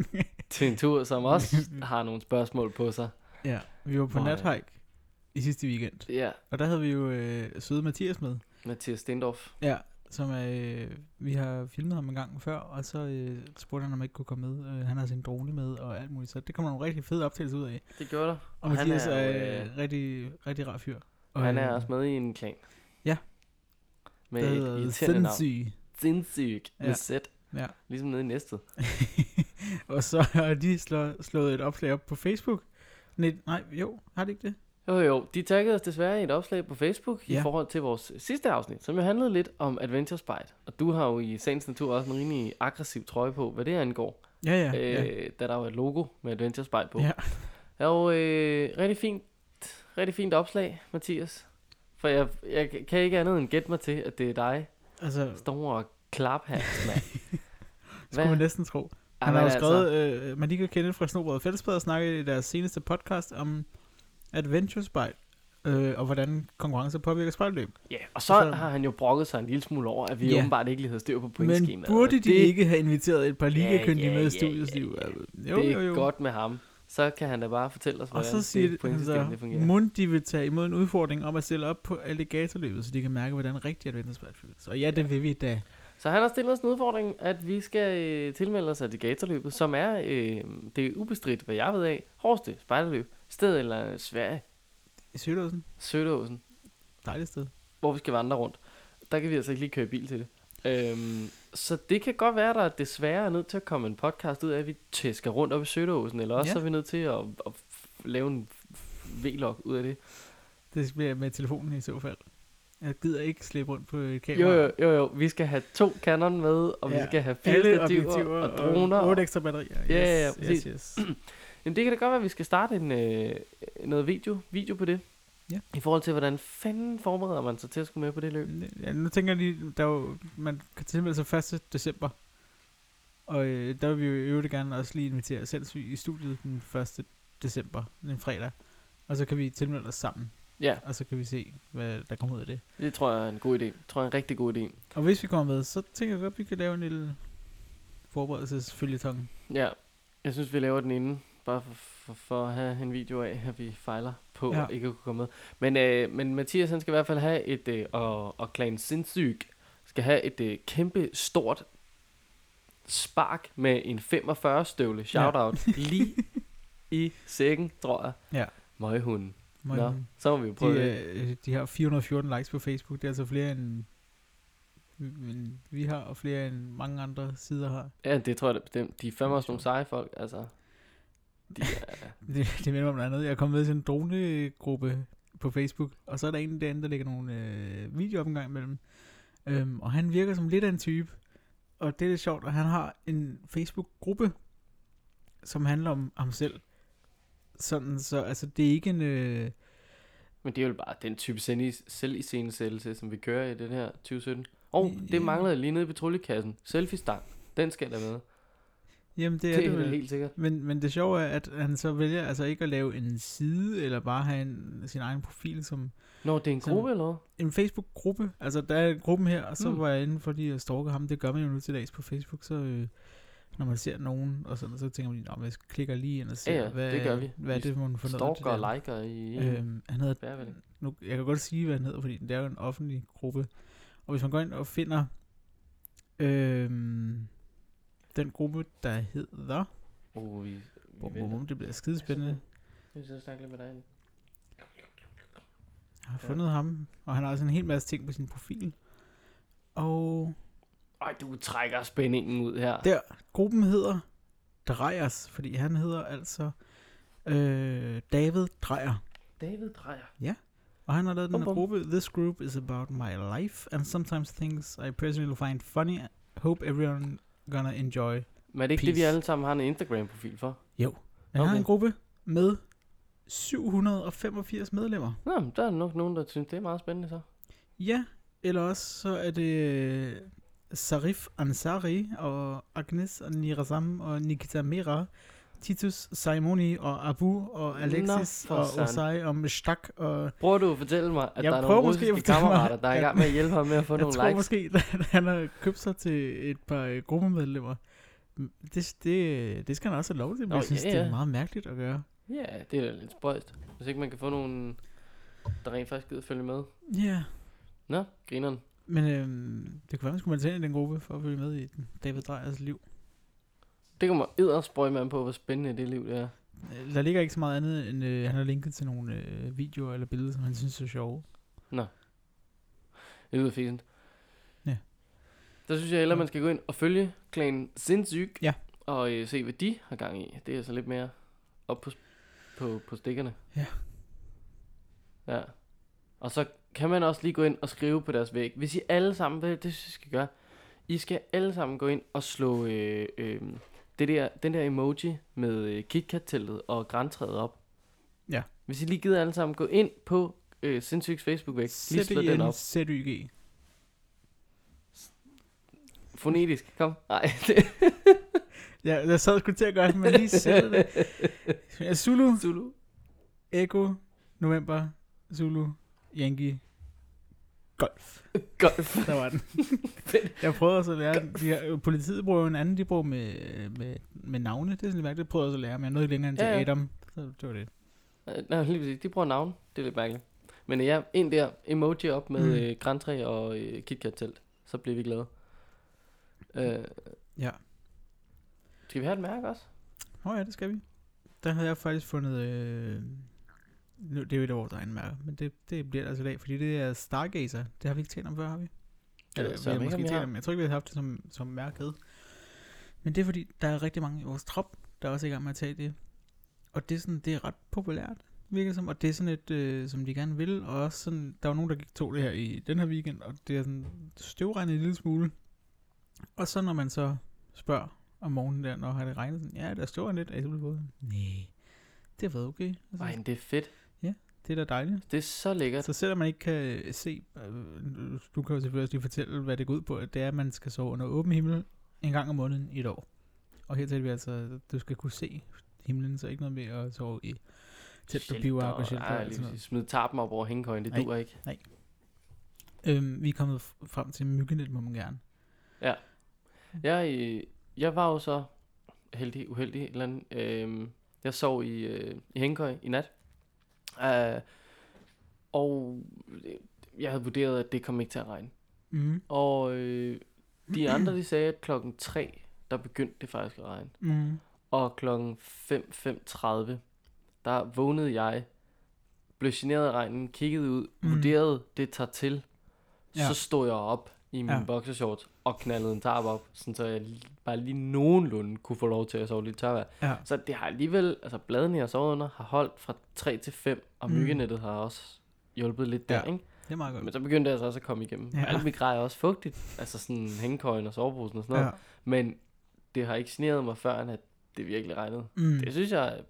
Til en tur, som også har nogle spørgsmål på sig. ja. Vi var på Hvor, øh, nathike i sidste weekend. Ja, Og der havde vi jo øh, søde Mathias med. Mathias Stendorf. Ja, som er, øh, vi har filmet ham en gang før, og så øh, spurgte han, om jeg ikke kunne komme med. Øh, han har sin drone med og alt muligt, så det kommer nogle rigtig fede optagelser ud af. Det gjorde der. Og Og han Mathias er er, jo, er øh, rigtig, rigtig rar fyr. Og han er øh, også med i en klan. Ja. Med der et hedder irriterende navn. Sindssyg. Sindssyg. Ja. Ja. Med sæt. Ja. Ligesom nede i næstet. Og så har de slå, slået et opslag op på Facebook. Nej, nej jo, har de ikke det? Jo jo, de taggede os desværre i et opslag på Facebook ja. i Ja. forhold til vores sidste afsnit, som jo handlede lidt om Adventure Spite. Og du har jo i sagens natur også en rimelig aggressiv trøje på, hvad det angår. Ja, ja. Ja, ja. øh, da der jo er et logo med Adventure Spite på. Ja. Jo, øh, rigtig fint, rigtig fint opslag, Mathias. For jeg, jeg kan ikke andet end gætte mig til, at det er dig, Altså, store klaphands, mand. skulle man næsten tro. Ej, Han har men jo skrevet, altså... øh, man lige kan kende fra Snobrød og Fællesbad og snakke i deres seneste podcast om Adventure Spejl, øh, og hvordan konkurrencer påvirker spejlløb. Ja, og så Altså- har han jo brokket sig en lille smule over, at vi Ja. yeah. åbenbart ikke lige havde styr på pointskemaet. Men og burde de det... ikke have inviteret et par ligakyndige ja, med ja, i studiet? ja, Ja, ja. Jo, det er jo, jo. godt med ham. Så kan han da bare fortælle os, Og hvordan så siger det de, pointsystem det altså, fungerer. mund de vil tage imod en udfordring om at stille op på alligatorløbet, så de kan mærke, hvordan rigtig Adventure Spejl føles. Og ja, det vil vi da. Så han har stillet os en udfordring, at vi skal øh, tilmelde os alligatorløbet, som er, øh, det er ubestridt, hvad jeg ved af, hårdeste spejderløb, sted eller Sverige, I Sølåsen. Sødåsen, Dejligt sted. hvor vi skal vandre rundt. Der kan vi altså ikke lige køre i bil til det. Øhm, så det kan godt være, at der desværre er nødt til at komme en podcast ud af, at vi tæsker rundt op i Sødåsen, eller også Ja. så er vi nødt til at, at f- lave en vlog ud af det. Det bliver med telefonen i så fald. Jeg gider ikke slippe rundt på et kamera. Jo, jo, jo, jo. Vi skal have to Canon med, og ja. vi Ja. skal have fire Alle stativer objektiver og droner. og Og otte ekstra batterier. Yes, Ja, ja, ja, præcis. yes, yes. Jamen, det kan da godt være, at vi skal starte en, øh, noget video, video på det. Ja. I forhold til, hvordan fanden forbereder man sig til at skulle med på det løb. Ja, nu tænker jeg lige, der er jo, man kan tilmelde sig 1. december. Og øh, der vil vi jo i øvrigt gerne også lige invitere selvsyg i studiet den 1. december, den fredag. Og så kan vi tilmelde os sammen, Ja, og så kan vi se, hvad der kommer ud af det. det tror jeg er en god idé. Det tror jeg er en rigtig god idé. Og hvis vi kommer med, så tænker jeg godt, at vi kan lave en lille forberedelsesfølgetong. Ja, jeg synes, vi laver den inden. Bare for, for, for at have en video af, at vi fejler på ja. Ja. at ikke at kunne komme med. Men, øh, men Mathias, han skal i hvert fald have et, øh, og, og Clan Sindssyg skal have et øh, kæmpe stort spark med en 45 støvle shoutout ja. lige i sækken, tror jeg. Ja. Møghunden. Må Nå, jeg- så må vi jo prøve De, det. øh, de har 414 likes på Facebook. Det er altså flere end, end vi har, og flere end mange andre sider har. Ja, det tror jeg da bestemt. De er fandme også nogle seje folk, altså. De er, Det, det minder mig om noget andet. Jeg kom med til en dronegruppe på Facebook, og så er der en derinde, der lægger nogle øh, videoer op en gang imellem. Øhm, og han virker som lidt af en type, og det er lidt sjovt, og han har en Facebook-gruppe, som handler om ham selv. Sådan så, altså det er ikke en... Øh, men det er jo bare den type selv- selviscenesættelse, som vi kører i den her 2017. Og oh, det manglede lige nede i patruljekassen. Selfie-stang. Den skal der med. jamen det Det er er, det, det vel. er helt sikkert. Men, men det sjove er, at han så vælger altså ikke at lave en side, eller bare have en, sin egen profil som Nå, det er en Sådan- gruppe, eller hvad? en Facebook-gruppe. Altså, der er gruppen her, og så Mm. mm. var jeg inde for lige at stalke ham. Det gør man jo nu til dags på Facebook, så øh, når man ser nogen, og sådan, så tænker man, "Nå, jeg klikker lige ind og ser, Ja, ja, hvad, det gør vi. hvad er Vi det, man får Stalker og liker i... Øh, Øhm, han hedder Bærvælding. nu, jeg kan godt sige, hvad han hedder, fordi det er jo en offentlig gruppe. Og hvis man går ind og finder øhm, den gruppe, der hedder... Oh, vi, vi Bum, bum, venter. bum, det bliver skidespændende. Nu skal jeg snakke lidt med dig. Jeg har Ja. fundet ham, og han har også en hel masse ting på sin profil. Og Ej, du trækker spændingen ud her. der, gruppen hedder Drejers, fordi han hedder altså øh, David Drejer. David Drejer. Og han har lavet den Bum, her bum. gruppe, This group is about my life, and sometimes things I personally find funny, hope everyone gonna enjoy. Men er det ikke Peace. det, vi Peace. alle sammen har en Instagram-profil for? Jo. Han har Okay. en gruppe med 785 medlemmer. Nå, men der er nok nogen, der synes, det er meget spændende så. Ja, eller også så er det øh, Sarif Ansari og Agnes Nirazam og Nikita Mera, Titus Saimoni og Abu og Alexis for og søren. Osai og Meshtak og Prøver du at fortælle mig, at Jeg der er prøver nogle måske at russiske fortælle mig, kammerater, der er i at- gang med at hjælpe ham med at få jeg nogle tror likes? måske, at han har købt sig til et par øh, gruppemedlemmer. Mm, Det, det, det skal han også have lov til, men Nå, jeg synes, ja, det ja. er meget mærkeligt at gøre. Ja, det er da lidt spøjst. Hvis ikke man kan få nogen, der rent faktisk gider følge med. Ja, yeah. Nå, grineren. men øhm, det kunne være, man skulle melde sig ind i den gruppe for at følge med i den. David Drejers liv. Det kommer eddersprøjt man på, hvor spændende det liv det er. Øh, Der ligger ikke så meget andet, end øh, han har linket til nogle øh, videoer eller billeder, som han synes er sjove. Det lyder fint. Ja. Der synes jeg hellere, Ja. man skal gå ind og følge klanen Sindssyg. Ja. Og øh, se, hvad de har gang i. Det er så lidt mere op på, på, på stikkerne. Ja. Ja. Og så kan man også lige gå ind og skrive på deres væg. Hvis I alle sammen, det, det synes jeg, I skal gøre. I skal alle sammen gå ind og slå øh, øh, det der, den der emoji med øh, KitKat-teltet og grantræet op. Ja. Hvis I lige gider alle sammen gå ind på øh, Sindssygs Facebook-væg. Lige slå den op. ZYG. Fonetisk, kom. Nej, det Ja, jeg sad sgu til at gøre det, men lige sætte det. Ja, Zulu, Zulu. Eko, November, Zulu, Yankee, Golf. Golf. Der var den. jeg prøvede også at lære den. De her, politiet bruger jo en anden, de bruger med, med, med navne. Det er sådan lidt mærkeligt. Det prøvede jeg også at lære, men jeg nåede ikke længere end til Ja, ja. Adam. Så det var det. Øh, Nej, lige præcis. De bruger navn. Det er lidt mærkeligt. Men øh, ja, ind der. Emoji op med Mm. mm. øh, grantræ og øh, KitKat-telt. Så bliver vi glade. Øh, Ja. skal vi have et mærke også? Nå ja, det skal vi. Der havde jeg faktisk fundet... Øh, nu, det er jo et af vores egne mærker, men det, det bliver det altså i dag, fordi det er Stargazer. Det har vi ikke talt om før, har vi? Eller, så vi ikke, har om Øh, vi måske talt har. om, jeg tror ikke, vi har haft det som, som mærket. Men det er fordi, der er rigtig mange i vores trop, der er også i gang med at tage det. Og det er, sådan, det er ret populært, virker som. Og det er sådan et, øh, som de gerne vil. Og også sådan, der var nogen, der gik tog det her i den her weekend, og det er sådan støvregnet en lille smule. Og så når man så spørger om morgenen der, når har det regnet, sådan, ja, der støver lidt, er I så blevet våde? Nej, det har været okay. Altså, Ej, men det er fedt. det er da dejligt. Det er så lækkert. Så selvom man ikke kan øh, se, øh, du kan jo selvfølgelig også lige fortælle, hvad det går ud på, at det er, at man skal sove under åben himmel en gang om måneden i et år. Og her taler vi altså, at du skal kunne se himlen, så ikke noget med at sove i tæt på Shelter bivark og Altså. shelter. Ej, og lige sådan noget. præcis. Smid tarpen op over hængekøjen. Det Nej. duer ikke. Øhm, vi er kommet f- frem til myggenet, må man gerne. Jeg, øh, jeg var jo så heldig, uheldig, et eller andet. Øh, jeg sov i, øh, i Hængkøj i nat. Øh, og øh, jeg havde vurderet, at det kom ikke til at regne. Mm. Og øh, de andre, de sagde, at klokken 3, der begyndte det faktisk at regne. Mm. Og klokken 5.35, der vågnede jeg, blev generet af regnen, kiggede ud, Mm. mm. vurderede, det tager til. Ja. Ja. Så stod jeg op i min Ja. ja. boxershorts og knaldede en tarp op, sådan så jeg li- bare lige nogenlunde kunne få lov til at sove lidt tørvejr. Ja. Så det har alligevel, altså bladene jeg sov under, har holdt fra 3 til 5, og Mm. mm. myggenettet har også hjulpet lidt der, Ja. ikke? Det er meget godt. Men så begyndte jeg altså også at komme igennem. Ja. Ja. Alt mit grej er også fugtigt, altså sådan hængekøjen og soveposen og sådan noget. Ja. Ja. Men det har ikke sneret mig før, at det virkelig regnede. Mm. Det synes jeg,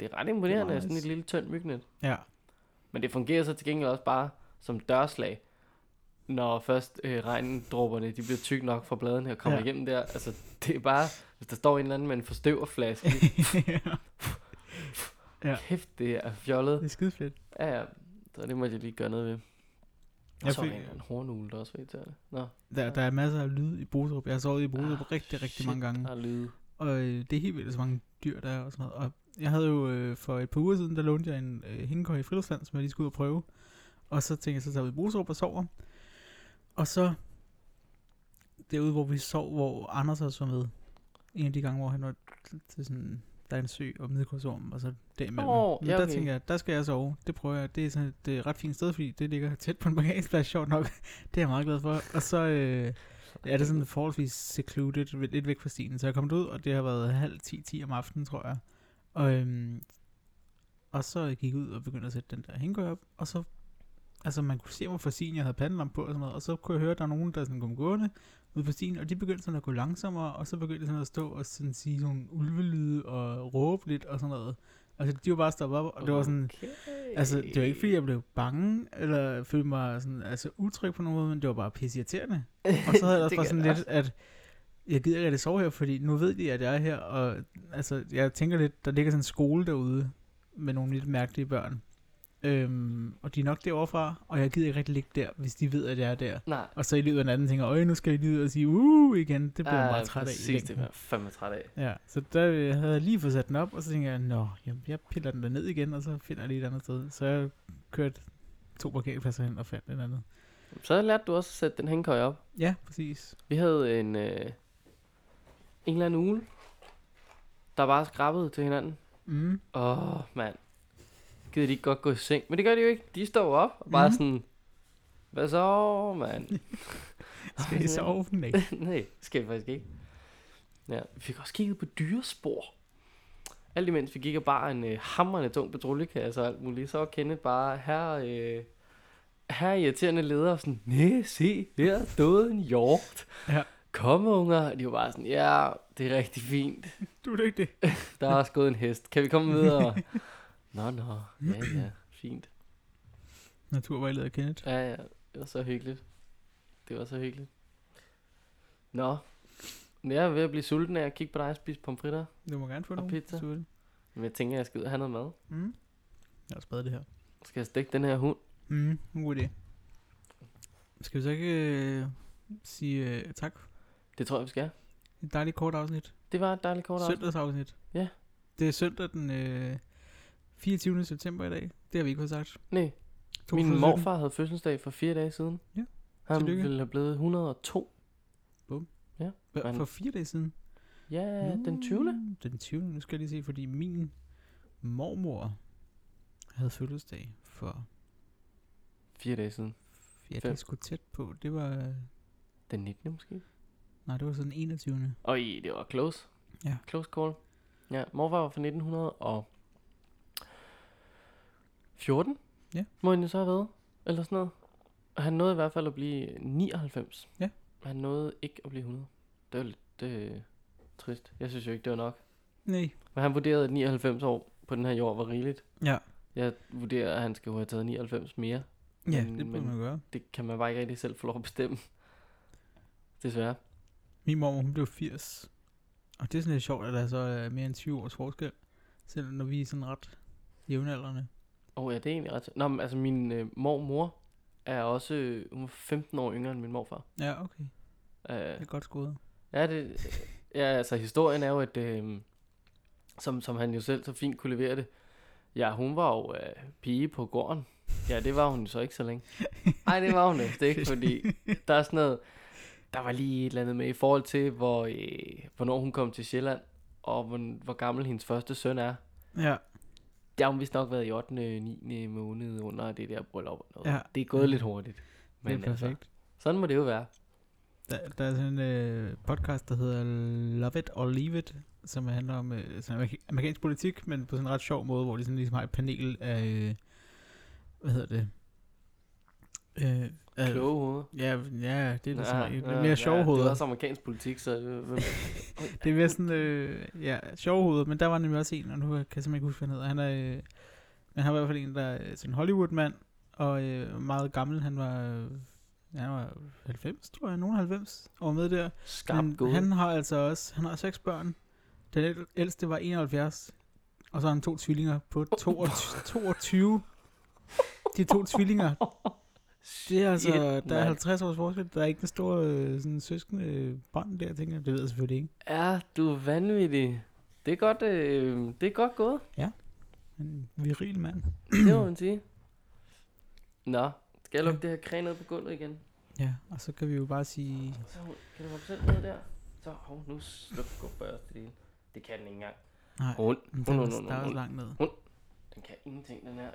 det er ret imponerende, meget det er sådan nice. et lille tyndt mygnet. Ja. Men det fungerer så til gengæld også bare som dørslag, når først øh, regndråberne de bliver tyk nok fra bladene og kommer Ja. ja. igennem der. Altså, det er bare, hvis der står en eller anden med en forstøverflaske, Ja. ja. kæft, det er fjollet. det er skide fedt. Ja, ja, så det må jeg lige gøre noget ved. Og Jeg så er fik- der en eller anden hornugle, der også ved til det. Nå, Der, der er masser af lyd i Boserup. Jeg har sovet i Boserup ah, rigtig, rigtig shit, mange gange. Der er lyde. Og øh, det er helt vildt, så mange dyr der er og sådan noget. Og jeg havde jo øh, for et par uger siden, der lånte jeg en øh, hængekøj i friluftsland, som jeg lige skulle ud og prøve. Og så tænkte jeg, så tager vi i Boserup og sover. Og så derude, hvor vi sov, hvor Anders også var med. En af de gange, hvor han var til sådan, der er en sø og middelkorsorm, og så derimellem. Åh, Men ja, der okay. tænker jeg, der skal jeg sove. Det prøver jeg. Det er sådan et øh, ret fint sted, fordi det ligger tæt på en parkeringsplads, sjovt nok. det er jeg meget glad for. Og så... Øh, Ja, det er sådan forholdsvis secluded, lidt- lidt væk fra stien. Så jeg kom ud, og det har været halv 10-10 om aftenen, tror jeg. Og, øhm, og så gik jeg ud og begyndte at sætte den der hængekøj op, og så Altså, man kunne se mig fra stien, jeg havde pandelamp på og sådan noget, og så kunne jeg høre, at der var nogen, der sådan kom gående ude på stien, og de begyndte sådan at gå langsommere, og så begyndte de sådan at stå og sådan sige sådan ulvelyde og råbe lidt og sådan noget. Altså, de var bare stoppet op, og det var sådan, Okay. Altså, det var ikke fordi, jeg Øh. blev bange, eller følte mig sådan, altså, utryg på nogen måde, men det var bare pisseirriterende. Og så havde jeg også Det bare kan sådan jeg lidt, at jeg gider ikke, at det sove her, fordi nu ved de, at jeg er her, og altså, jeg tænker lidt, der ligger sådan en skole derude med nogle lidt mærkelige børn. Øhm, og de er nok derovre fra, og jeg gider ikke rigtig ligge der, hvis de ved, at jeg er der. Nej. Og så i løbet af natten tænker, øj, nu skal jeg lige ud og sige, uh, igen, det bliver jeg meget træt af. i Ah, præcis, det længden. bliver jeg fandme træt af. Ja, så der øh, havde jeg lige fået sat den op, og så tænkte jeg, nå, jamen, jeg piller den der ned igen, og så finder jeg lige et andet sted. Så jeg kørte to parkeringspladser hen og fandt et andet. Så lærte du også at sætte den hængekøj op. Ja, præcis. Vi havde en, øh, en eller anden ugle, der bare skrabbede til hinanden. Mm. Åh, oh, mand. Gider de ikke godt gå i seng? Men det gør de jo ikke. De står jo op og bare Mhm. mm. sådan, hvad så, mand? Skal I sove den ikke? Nej, skal vi faktisk ikke. Ja, vi fik også kigget på dyrespor. Alt imens vi gik og bare en øh, hammerende tung patruljekasse og alt muligt, så var Kenneth bare her, øh, her irriterende leder og sådan, nej, se, her stod en hjort. Ja. Kom, unger. Og De var bare sådan, ja, det er rigtig fint. Du er dygtig. Der er også gået en hest. Kan vi komme videre? nå, nå, ja, ja, fint. Naturvejleder Kenneth. Ja, ja, det var så hyggeligt. Det var så hyggeligt. Nå, Men jeg er ved at blive sulten af at kigge på dig og spise pomfritter. Du må gerne få Og nogle. pizza. hvis du vil. Men jeg tænker, at jeg skal ud og have noget mad. Mm. Jeg har spadet det her. Skal jeg stikke den her hund? Mm, en god idé. Skal vi så ikke øh, sige øh, tak? Det tror jeg, vi skal. Et dejligt kort afsnit. Det var et dejligt kort afsnit. Søndagsafsnit. Ja. Det er søndag den øh, 24. september i dag. Det har vi ikke fået sagt. Nej, min 2017. morfar havde fødselsdag for fire dage siden. Ja, Han tillykke. ville have blevet 102. Hva- Men- For fire dage siden. Ja, den 20. Mm, Den 20. Nu skal jeg lige se, fordi min mormor havde fødselsdag for... Fire dage siden. Ja, det Fem. er sgu tæt på. Det var... øh, Den 19. måske. Nej, det var sådan 21. Og det var close. Ja. Close call. Ja, morfar var fra 1914. Ja. Må han jo så have været. Eller sådan noget. Og han nåede i hvert fald at blive 99. Ja. Han nåede ikke at blive 100. Det var lidt øh, trist. Jeg synes jo ikke, det var nok. Nej. Men han vurderede, at 99 år på den her jord var rigeligt. Ja. Jeg vurderer, at han skal jo have taget 99 mere. Ja, Men- det burde men- man gøre. Det kan man bare ikke rigtig selv få lov at bestemme. Desværre. Min mormor, hun blev 80. Og det er sådan lidt sjovt, at der så er mere end 20 års forskel. Selvom når vi er sådan ret jævnaldrende. Åh, oh, ja, det er egentlig ret... Nå, men altså, min øh, mormor er også... Øh, hun var 15 år yngre end min morfar. Ja, okay. Øh, Det er godt skudt. ja, det... Ja, altså, historien er jo, at... Øh, som, som han jo selv så fint kunne levere det. Ja, hun var jo øh, pige på gården. Ja, det var hun så ikke så længe. Nej, det var hun det ikke, fordi der er sådan noget... Der var lige et eller andet med i forhold til, hvor, øh, hvornår hun kom til Sjælland, og hvor, hvor gammel hendes første søn er. Ja, Der har hun vist nok været i 8. 9. måned under det der bryllup. og Noget. Ja. Ja. Det er gået lidt hurtigt. altså, det er perfekt. sådan må det jo være. Der, der er sådan en øh, podcast, der hedder Love It or Leave It, som handler om øh, sådan amerik- amerikansk politik, men på sådan en ret sjov måde, hvor de sådan ligesom har et panel af, øh, hvad hedder det? Øh, af- Kloge hoveder. Ja, ja, det er ligesom ja, ja, mere sjove ja, Det er hoveder. også amerikansk politik, så... øh, hvem- Det er mere sådan, øh, ja, sjove hoveder, men der var nemlig også en, og nu kan jeg simpelthen ikke huske, hvad han hedder. Han er, øh, men han var i hvert fald en, der er sådan en Hollywood-mand, og øh, meget gammel. Han var, øh, han var 90, tror jeg, nogen 90, og var med der. Skarpt Men gået. han har altså også, han har seks børn. Den æl- ældste var 71, og så har han to tvillinger på 22. 22. De to tvillinger, det er altså, der er 50 års forskel. Der er ikke den store øh, sådan, søskende øh, bånd der, tænker jeg. Det ved jeg selvfølgelig ikke. Ja, du er vanvittig. Det er godt, øh, det er godt gået, En viril mand. det må man sige. Nå, skal jeg lukke det her kræ ned på gulvet igen? Ja, og så kan vi jo bare sige, Så kan du hoppe selv ned der? Så, hov, nu slukker børste det hele. Det kan den ikke engang. nej, Rund, men rund, der, rund, er, rund, der er også rund. langt ned. Den kan ingenting, den her.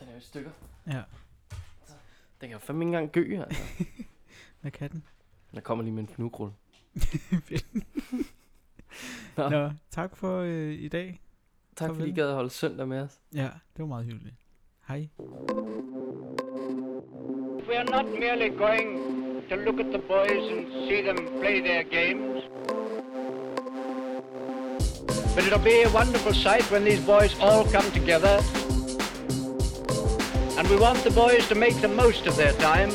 Den er jo i stykker. Ja, Den kan jo fandme ikke engang gø, altså. med katten. Der kommer lige med en fnugrulle. Nå. Nå, tak for øh, i dag. Tak fordi I Farvel. gad at holde søndag med os. Ja, det var meget hyggeligt. Hej. We are not merely going to look at the boys and see them play their games. But it'll be a wonderful sight when these boys all come together. And we want the boys to make the most of their time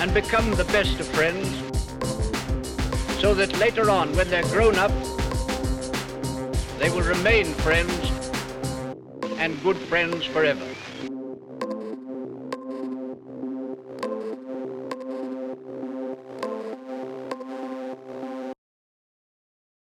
and become the best of friends. So that later on, when they're grown up, they will remain friends and good friends forever.